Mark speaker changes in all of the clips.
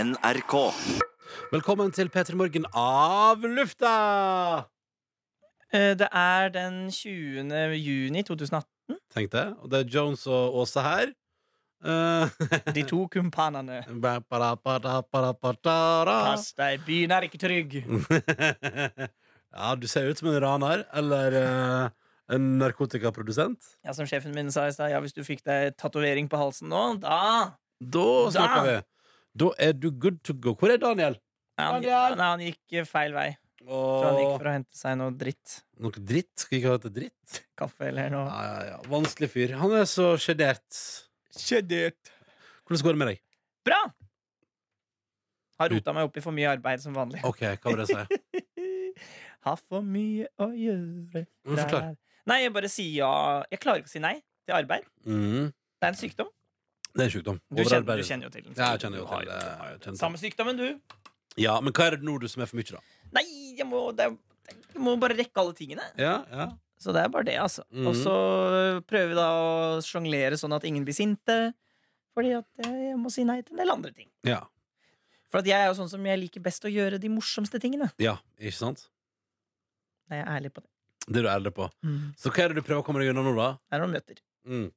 Speaker 1: NRK.
Speaker 2: Velkommen til P3 Morgen av lufta!
Speaker 3: Eh, Det er den 20. juni 2018.
Speaker 2: Tenk det. Og det er Jones og Åse her. Eh,
Speaker 3: De to kumpanene.
Speaker 2: ba- ba- ba- da- ba- da- ba- da- da.
Speaker 3: Pass deg, byen er ikke trygg.
Speaker 2: ja, du ser ut som en raner eller eh, en narkotikaprodusent.
Speaker 3: Ja, som sjefen min sa i stad, ja, hvis du fikk deg tatovering på halsen nå, da
Speaker 2: Da snakker vi.
Speaker 3: Da.
Speaker 2: Da er du good to go. Hvor er Daniel?
Speaker 3: Nei, han,
Speaker 2: Daniel!
Speaker 3: nei, han gikk eh, feil vei. Så han gikk
Speaker 2: Og...
Speaker 3: for å hente seg noe dritt.
Speaker 2: Noe dritt? Skal ikke ha dette dritt?
Speaker 3: Kaffe eller noe.
Speaker 2: Ja, ja, ja. Vanskelig fyr. Han er så sjenert. Ah,
Speaker 3: Skjedert.
Speaker 2: Hvordan går det med deg?
Speaker 3: Bra! Har rota meg opp i for mye arbeid som vanlig.
Speaker 2: OK, hva vil det si?
Speaker 3: Har for mye å gjøre
Speaker 2: Men Forklar.
Speaker 3: Der. Nei, jeg bare sier ja. Jeg klarer ikke å si nei til arbeid.
Speaker 2: Mm.
Speaker 3: Det er en sykdom.
Speaker 2: Det er en sykdom.
Speaker 3: Du kjenner,
Speaker 2: Overarbeid.
Speaker 3: du kjenner jo til den.
Speaker 2: Ja, jeg kjenner jo
Speaker 3: Du har
Speaker 2: til det. Jeg kjenner til
Speaker 3: Samme sykdommen, du.
Speaker 2: det. Ja, men hva er det nå du som er for mye, da?
Speaker 3: Nei, jeg må, det er, jeg må bare rekke alle tingene.
Speaker 2: Ja, ja.
Speaker 3: Så det er bare det, altså.
Speaker 2: Mhm.
Speaker 3: Og så prøver vi da å sjonglere sånn at ingen blir sinte. Fordi at jeg, jeg må si nei til en del andre ting.
Speaker 2: Ja,
Speaker 3: For at jeg er jo sånn som jeg liker best å gjøre de morsomste tingene.
Speaker 2: ja ikke sant?
Speaker 3: Nei, jeg er ærlig på det.
Speaker 2: Det er du ærlig på.
Speaker 3: Mm.
Speaker 2: Så hva er det du prøver å komme deg unna nå, da?
Speaker 3: Det er noen møter.
Speaker 2: Mm.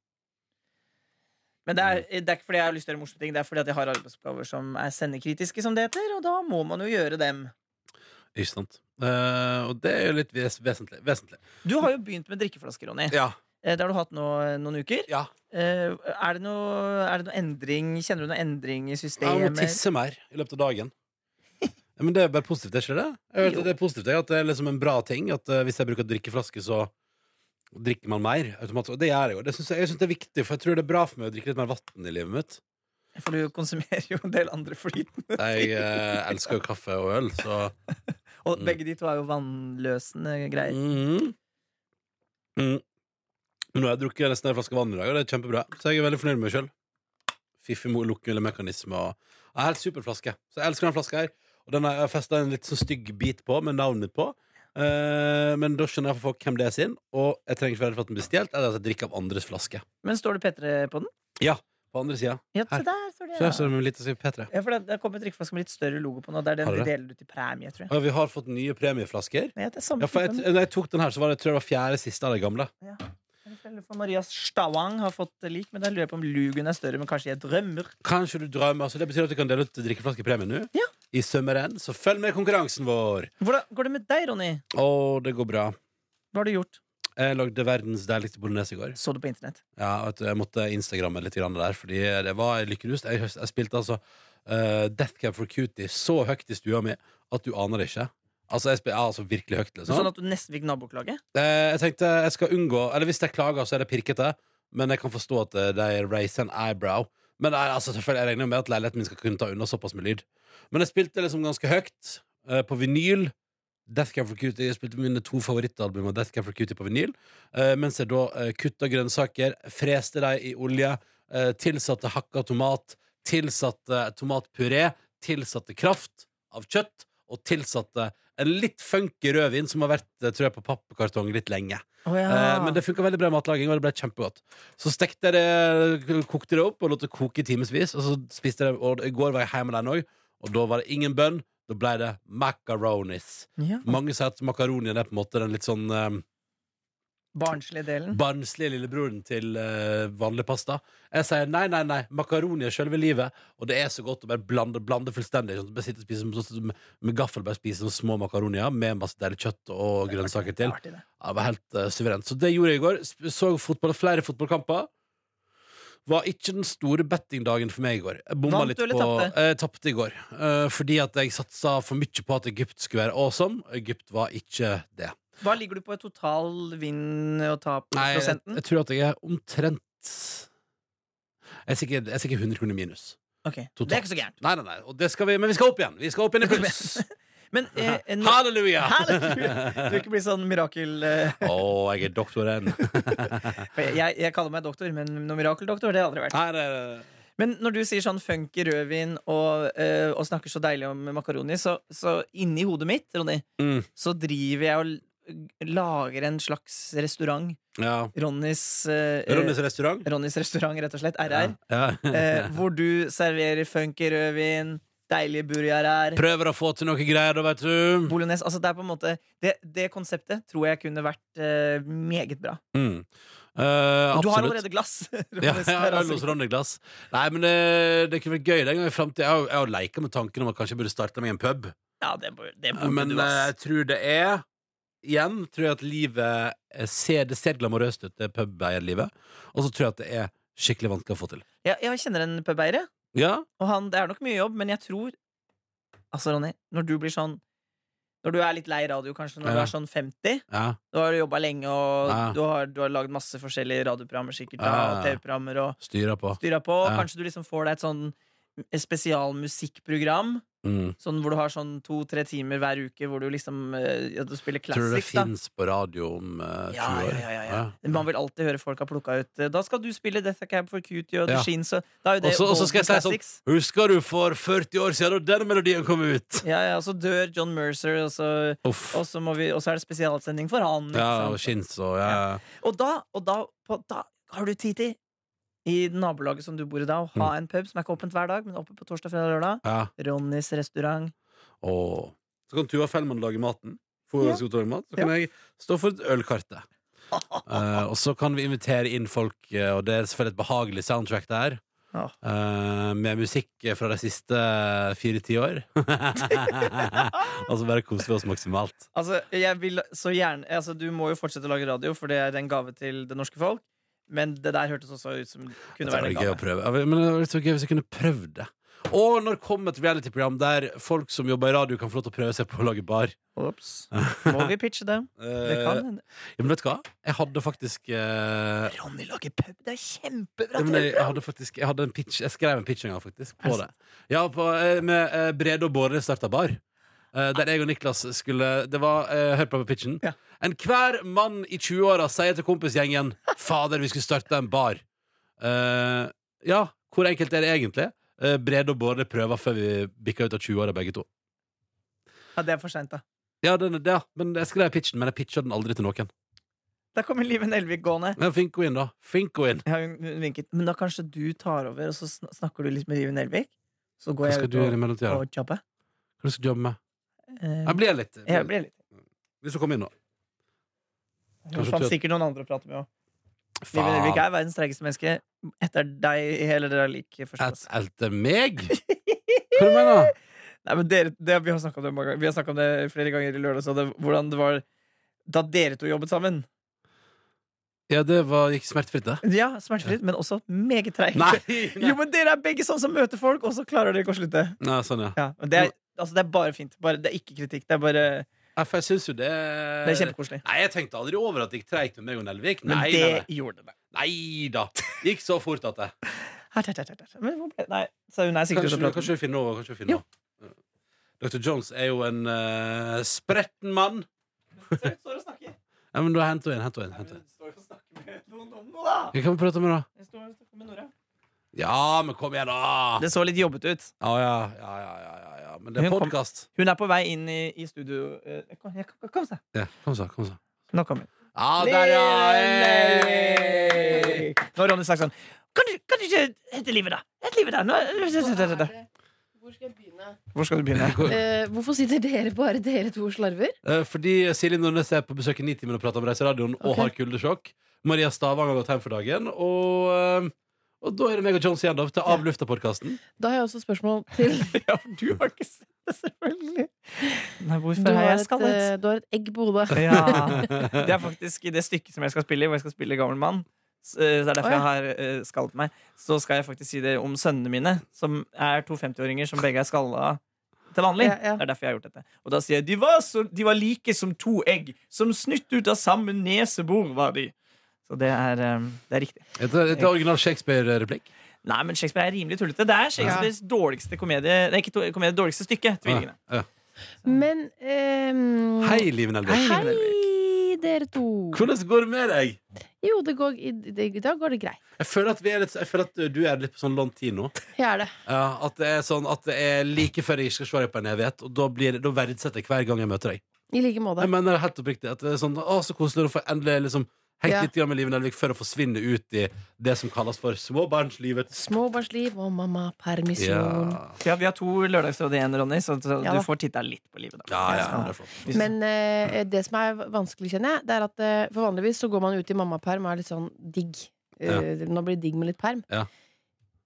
Speaker 3: Men det er, det er ikke fordi jeg har lyst til å gjøre morsomme ting, det er fordi at jeg har arbeidsoppgaver som er sendekritiske, som det heter, og da må man jo gjøre dem.
Speaker 2: Ikke sant? Eh, og det er jo litt ves vesentlig. vesentlig.
Speaker 3: Du har jo begynt med drikkeflasker, Ronny.
Speaker 2: Ja.
Speaker 3: Eh, Det har du hatt nå eh, noen uker.
Speaker 2: ja.
Speaker 3: Eh, Er det noe, er det noe endring? Kjenner du noe endring i
Speaker 2: Jeg må
Speaker 3: systemet?
Speaker 2: tisse mer i løpet av dagen. Ja, Men det er bare positivt, er ikke det? Jeg vet,
Speaker 3: Jo.
Speaker 2: at det er positivt, jeg, at det er liksom en bra ting. At eh, hvis jeg bruker drikkeflaske, så drikker man mer automatisk. Og det gjør jeg jo. Det synes jeg, jeg synes det er viktig, for jeg tror det er bra for meg å drikke litt mer vann i livet mitt.
Speaker 3: For du konsumerer jo en del andre flytende.
Speaker 2: Jeg eh, elsker jo kaffe og øl, så
Speaker 3: Og
Speaker 2: Mm.
Speaker 3: begge de to er jo vannløsende greier.
Speaker 2: Mhm. Mm. Men Nå har jeg drukket nesten en flaske vann i dag, og det er kjempebra. Så jeg er veldig fornøyd med meg sjøl. Fiffig mo- lukkemekanisme og ja, Helt super flaske. Så jeg elsker den flaska her. Og den har jeg festa en litt sånn stygg bit på, med navnet mitt på. Eh, men da skjønner jeg for folk hvem det er sin, og jeg trenger ikke være redd for at den blir stjålet, eller at jeg drikker av andres flaske.
Speaker 3: Men står det P3 på den?
Speaker 2: På andre sida.
Speaker 3: Ja,
Speaker 2: Her.
Speaker 3: se der står det.
Speaker 2: Så her
Speaker 3: Ja.
Speaker 2: står det med litt å si P3.
Speaker 3: Ja, for det, det har kommet drikkeflaske med litt større logo på den, og det er den
Speaker 2: Har
Speaker 3: de
Speaker 2: det?
Speaker 3: deler ut i premie, tror jeg.
Speaker 2: Og vi har fått nye premieflasker.
Speaker 3: Nei, det er samme
Speaker 2: Ja, for jeg,
Speaker 3: typen.
Speaker 2: når jeg tok den her, så var det, tror jeg det var fjerde siste av de gamle.
Speaker 3: Jeg føler for Maria Stavang har fått lik, men da lurer jeg på om lugen er større. Men kanskje jeg drømmer.
Speaker 2: Kanskje du drømmer, så det betyr at du kan dele ut drikkeflaskepremie nå?
Speaker 3: Ja.
Speaker 2: I sommeren. Så følg med i konkurransen vår!
Speaker 3: Hvordan går det med deg, Ronny?
Speaker 2: Å, det går bra.
Speaker 3: Hva har du gjort?
Speaker 2: Jeg lagde verdens deiligste bolognese i går.
Speaker 3: Så du på internett?
Speaker 2: Ja, vet du, jeg måtte instagramme litt grann der, fordi det var en lykkerus. Jeg, jeg spilte altså eh, Death Cab for Cutie så høyt i stua mi at du aner det ikke. Altså, jeg spil, ja, altså virkelig høyt. Liksom.
Speaker 3: Sånn at du nesten fikk naboklaget?
Speaker 2: Eh, jeg tenkte jeg skal unngå Eller hvis jeg klager, så er det pirkete. Men jeg kan forstå at eh, de raiser en eyebrow. Men nei, altså, selvfølgelig, jeg regner med at leiligheten min skal kunne ta unna såpass med lyd. Men jeg spilte liksom ganske høyt eh, på vinyl. Death Cab for Cutie Jeg spilte mine to favorittalbum av Death Cab for Cutie på vinyl. eh, mens jeg da eh, kutta grønnsaker, freste dem i olje, eh, tilsatte hakka tomat, tilsatte tomatpuré, tilsatte kraft av kjøtt, og tilsatte en litt funky rødvin som har vært eh, tror jeg, på pappkartong litt lenge.
Speaker 3: Oh, ja.
Speaker 2: Eh, men det funka veldig bra i matlaging, og det ble kjempegodt. Så stekte jeg det, kokte det opp og lot det koke i timevis. Og så spiste jeg det, og i går var jeg hjemme den òg, og da var det ingen bønn. Da ble det macaronis.
Speaker 3: ja.
Speaker 2: Mange sier at makaronien er på en måte den litt sånn eh,
Speaker 3: Barnslige delen.
Speaker 2: barnslige lillebroren til eh, vanlig pasta. Jeg sier nei, nei, nei. Makaroni er selve livet, og det er så godt å bare blande, blande fullstendig. Sånn, at du bare sitter og spiser med- sånn, med gaffel bare spiser sånne små makaronier med masse deilig kjøtt og grønnsaker til.
Speaker 3: Artig, det.
Speaker 2: Ja, det var helt eh, suverent. Så det gjorde jeg i går. Sp- Så fotball, flere fotballkamper. Var ikke den store bettingdagen for meg i går. Jeg bomma
Speaker 3: Vant
Speaker 2: litt
Speaker 3: du eller
Speaker 2: på
Speaker 3: tapte?
Speaker 2: eh, Tapte i går. Eh, fordi at jeg satsa for mye på at Egypt skulle være awesome. Egypt var ikke det.
Speaker 3: Hva ligger du på i total vinn- og
Speaker 2: Nei, jeg,
Speaker 3: tapprosenten?
Speaker 2: jeg tror at jeg er omtrent Jeg er sikkert, jeg er sikkert 100 kroner minus.
Speaker 3: Ok,
Speaker 2: Totalt.
Speaker 3: Det er ikke så gærent.
Speaker 2: Nei, nei, nei. Og det skal vi, men vi skal opp igjen! Vi skal opp igjen i pluss!
Speaker 3: Men eh, en-
Speaker 2: Halleluja!
Speaker 3: Halleluja! Du ikke blir sånn mirakel... eh,
Speaker 2: Å, jeg er doktoren.
Speaker 3: for Jeg, jeg kaller meg doktor, men noen mirakeldoktor det har jeg aldri vært.
Speaker 2: Her er det
Speaker 3: Men når du sier sånn funky rødvin og, eh, og snakker så deilig om makaroni, så, så inni hodet mitt, Ronny,
Speaker 2: mm.
Speaker 3: så driver jeg og l- lager en slags restaurant.
Speaker 2: Ja.
Speaker 3: Ronnys, eh,
Speaker 2: Ronnys restaurant.
Speaker 3: Ronnys restaurant, rett og slett. RR.
Speaker 2: Ja. Ja.
Speaker 3: eh, hvor du serverer funky rødvin, deilige burgerer.
Speaker 2: Prøver å få til noe greier, da, vet du.
Speaker 3: Bolognese. Altså, det, er på en måte, det, det konseptet tror jeg kunne vært eh, meget bra.
Speaker 2: Mm. Eh,
Speaker 3: Du har
Speaker 2: absolutt.
Speaker 3: allerede glass.
Speaker 2: Ja,
Speaker 3: Ronny
Speaker 2: ja,
Speaker 3: Sperre,
Speaker 2: øl hos
Speaker 3: altså.
Speaker 2: Ronny Glass. Nei, men det, det kunne vært gøy den gangen i fremtiden. Jeg har- Jeg har leket med tanken om at kanskje jeg burde starte meg en pub.
Speaker 3: ja, det, bør- det burde
Speaker 2: Men
Speaker 3: du,
Speaker 2: eh, jeg
Speaker 3: ass.
Speaker 2: tror det er Igjen tror jeg at livet eh, ser, Det ser glamorøst ut, det pubeierlivet. Og så tror jeg at det er skikkelig vanskelig å få til.
Speaker 3: Jeg, jeg kjenner en pubeier, jeg.
Speaker 2: Ja,
Speaker 3: og han, det er nok mye jobb, men jeg tror Altså, Ronny, når du blir sånn Når du er litt lei radio, kanskje, når du
Speaker 2: Ja.
Speaker 3: er sånn 50
Speaker 2: ja,
Speaker 3: Da har du jobba lenge, og
Speaker 2: Ja.
Speaker 3: du har, du har lagd masse forskjellige radioprogrammer, sikkert,
Speaker 2: Ja, ja,
Speaker 3: og
Speaker 2: ja.
Speaker 3: TV-programmer, og
Speaker 2: styrer på.
Speaker 3: styra på. og
Speaker 2: Ja.
Speaker 3: Kanskje du liksom får deg et sånn spesialmusikkprogram,
Speaker 2: Mm.
Speaker 3: sånn hvor du har sånn to-tre timer hver uke hvor du liksom eh, ja, du spiller
Speaker 2: Tror du det
Speaker 3: classic, da.
Speaker 2: fins på radio om eh, 20
Speaker 3: Ja,
Speaker 2: år?
Speaker 3: ja, ja, ja, ja. Man vil alltid høre folk har plukka ut eh, Da skal du spille Death Cab for Cutie og The
Speaker 2: Ja.
Speaker 3: Sheens. og Da er jo det
Speaker 2: Også- også skal jeg
Speaker 3: golden
Speaker 2: si sånn-
Speaker 3: classics.
Speaker 2: Husker du for 40 år siden da den melodien kom ut?
Speaker 3: Ja, ja, og så dør John Mercer, og så,
Speaker 2: Uff.
Speaker 3: og så, må vi, og så er det spesialsending for han. ikke
Speaker 2: Ja, og
Speaker 3: sant?
Speaker 2: Shins og ja. ja.
Speaker 3: Og da, og da, på, da har du tid til, i nabolaget som du bor i da, å ha
Speaker 2: Mm.
Speaker 3: en pub som er ikke åpent hver dag, men oppe på torsdag, fredag, lørdag.
Speaker 2: ja.
Speaker 3: Ronnys restaurant.
Speaker 2: Åh. Så kan Tua Fellmann lage maten. Få
Speaker 3: Ja.
Speaker 2: ganske god til å lage mat Så kan jeg stå for ølkartet. Eh, og så kan vi invitere inn folk, eh, og det er selvfølgelig et behagelig soundtrack der.
Speaker 3: Ja.
Speaker 2: Eh, med musikk fra de siste fire-ti år. og så bare koser vi oss maksimalt.
Speaker 3: Altså, jeg vil så gjerne altså, Du må jo fortsette å lage radio, for det er en gave til det norske folk. Men det der hørtes også ut som
Speaker 2: Det
Speaker 3: kunne
Speaker 2: var
Speaker 3: være
Speaker 2: det
Speaker 3: en
Speaker 2: gøy å
Speaker 3: gave.
Speaker 2: prøve. Ja, Men det var så gøy hvis jeg kunne prøvd det. Og når kom et reality-program der folk som jobber i radio, kan få lov til å prøve seg på å lage bar?
Speaker 3: Ops. Må vi pitche det? Det kan
Speaker 2: Eh,
Speaker 3: hende.
Speaker 2: ja, men vet du hva? Jeg hadde faktisk eh,
Speaker 3: Ronny lager pub! Det er kjempebra!
Speaker 2: Ja, men jeg, jeg
Speaker 3: TV-program.
Speaker 2: hadde faktisk Jeg, hadde en pitch, jeg skrev en pitch en gang, faktisk. På det. Ja, på, eh, med eh, Brede og Båre starta bar. Eh, der jeg og Niklas skulle Det var eh, Hør på på pitchen.
Speaker 3: Ja.
Speaker 2: Enhver mann i 20-åra sier til kompisgjengen 'Fader, vi skulle starte en bar'. Eh, ja, hvor enkelt er det egentlig? Eh, Brede og Båre prøver før vi bikker ut av 20-åra, begge to.
Speaker 3: Ja, det er for seint, da.
Speaker 2: Ja, den, ja, men Jeg skrev pitchen, men jeg pitcha den aldri til noen.
Speaker 3: Der kommer Liven Elvik gående.
Speaker 2: Men Finko inn, da. Finko inn.
Speaker 3: Ja, hun hun vinket. Men da kanskje du tar over, og så sn- snakker du litt med Liven Elvik? Så går
Speaker 2: Hva
Speaker 3: jeg
Speaker 2: skal
Speaker 3: ut
Speaker 2: du gjøre
Speaker 3: og,
Speaker 2: i mellomtida?
Speaker 3: og jobber.
Speaker 2: Hva skal du jobbe med?
Speaker 3: Eh,
Speaker 2: Jeg blir litt
Speaker 3: jeg blir litt
Speaker 2: Hvis du kommer inn nå.
Speaker 3: Hun
Speaker 2: Kanskje
Speaker 3: fant
Speaker 2: du-
Speaker 3: sikkert noen andre å prate med òg. Liven Elvik er verdens treigeste menneske. Etter deg i hele det like første
Speaker 2: Et,
Speaker 3: plass.
Speaker 2: etter meg? Hva du mener du?
Speaker 3: Nei, men dere, det, vi har snakka om det mange ganger Vi har snakket om det flere ganger i lørdag, så det, hvordan det var da dere to jobbet sammen.
Speaker 2: Ja, det var, gikk smertefritt, det.
Speaker 3: Ja, Smertefritt, men også meget treigt.
Speaker 2: Nei!
Speaker 3: Jo, men dere er begge sånn som møter folk, og så klarer dere ikke å slutte.
Speaker 2: Nei, sånn, ja.
Speaker 3: Ja, og det, er, altså, det er bare fint. Bare, det er ikke kritikk. Det er bare
Speaker 2: ja for jeg syns jo det
Speaker 3: Det er kjempekoselig.
Speaker 2: Nei, jeg tenkte aldri over at det gikk treigt med meg og Nelvik.
Speaker 3: Men
Speaker 2: Nei,
Speaker 3: det
Speaker 2: nei, nei.
Speaker 3: gjorde det.
Speaker 2: nei da. Det gikk så fort at det
Speaker 3: Her, her, her, her, her. Men hvor ble Nei, så hun er sikkert
Speaker 2: Kanskje,
Speaker 3: ute og prater.
Speaker 2: kanskje vi finner noe. Kanskje vi finner
Speaker 3: Jo.
Speaker 2: noe. Dr. Jones er jo en eh, spretten mann.
Speaker 3: Står og snakker.
Speaker 2: Ja, men da henter vi en. Hent en, hent en.
Speaker 3: Står og snakker med noen om noe, da.
Speaker 2: Hva kan vi prate om, da?
Speaker 3: Jeg står og snakker med Nora.
Speaker 2: Ja, men kom igjen, da!
Speaker 3: Det så litt jobbet ut.
Speaker 2: Ja, ja, ja, ja, ja, ja, ja. Men det er
Speaker 3: Hun kom-
Speaker 2: podkast.
Speaker 3: Hun er på vei inn i, i studio. Eh, Kom, jeg- kom, kom, se.
Speaker 2: Ja, kom så. Kom så.
Speaker 3: Nå kommer hun.
Speaker 2: Ja, der, ja! Hey!
Speaker 3: Nå har Ronny sagt sånn kan du, kan du ikke hente livet, da? Hente livet, da! Nå.
Speaker 1: Hvor skal jeg begynne?
Speaker 3: Hvor skal du begynne?
Speaker 1: Eh, hvorfor sitter dere bare dere to og slarver?
Speaker 2: Eh, Fordi Silje Nordnes er på besøk i Nitimen og prater om Reiseradioen og
Speaker 1: Ok.
Speaker 2: har kuldesjokk. Maria Stavang har gått hjem for dagen. Og, eh, og da er det meg og Jones igjen da, til Avlufta-podkasten.
Speaker 1: Da har jeg også spørsmål til
Speaker 3: Ja, for du har ikke sett det, selvfølgelig. Nei, hvorfor
Speaker 1: du
Speaker 3: har
Speaker 1: har,
Speaker 3: jeg
Speaker 1: et, eh,
Speaker 3: skallet?
Speaker 1: du har et egg på hodet.
Speaker 3: Ja. Det er faktisk i det stykket som jeg skal spille i, hvor jeg skal spille gammel mann. Så eh, så det er derfor
Speaker 1: Å, ja.
Speaker 3: jeg har eh, skallet meg. Så skal jeg faktisk si det om sønnene mine, som er to 50-åringer som begge er skalla til vanlig.
Speaker 1: Ja, ja.
Speaker 3: Det er derfor jeg har gjort dette. Og da sier jeg de var, så, de var like som to egg, som snytt ut av samme nesebor, var de. Så det er, eh, det er riktig.
Speaker 2: Etter, etter original Shakespeare-replikk.
Speaker 3: Nei, men Shakespeare er rimelig tullete. Det er Shakespeares dårligste komedie Nei, ikke to- komedie, dårligste stykke. Tvillingene.
Speaker 2: Ah, Ja, ja.
Speaker 1: Men ehm,
Speaker 2: Hei, Liv Nelvik.
Speaker 3: Hei. Liven
Speaker 1: hei, dere to.
Speaker 2: Hvordan går det med deg?
Speaker 1: Jo, det går, i, det, da går det greit.
Speaker 2: Jeg føler at, vi er litt, jeg føler at du er litt på sånn lånt tid nå.
Speaker 1: Jeg er det.
Speaker 2: Ja, at det er sånn at det er like før jeg skal se deg på en evighet, og da, blir, det- da verdsetter jeg hver gang jeg møter deg.
Speaker 1: I like måte.
Speaker 2: Jeg mener helt oppriktig at det er sånn, Å, så koselig å få endelig liksom Hengt
Speaker 1: Ja.
Speaker 2: litt grann med livet Nelvik for å forsvinne ut i det som kalles for småbarnslivets
Speaker 1: Småbarnsliv og mammapermisjon.
Speaker 2: Ja.
Speaker 3: Ja, vi har to lørdagsråd igjen, Ronny, så så
Speaker 1: Ja
Speaker 3: du
Speaker 1: da.
Speaker 3: får titta litt på livet. da
Speaker 2: Ja, ja, det er flott.
Speaker 3: Hvis-
Speaker 1: Men eh, det som er vanskelig, kjenner jeg, det er at eh, for vanligvis så går man ut i mammaperm og er litt sånn digg. Eh, Nå blir det digg med litt perm.
Speaker 2: Ja.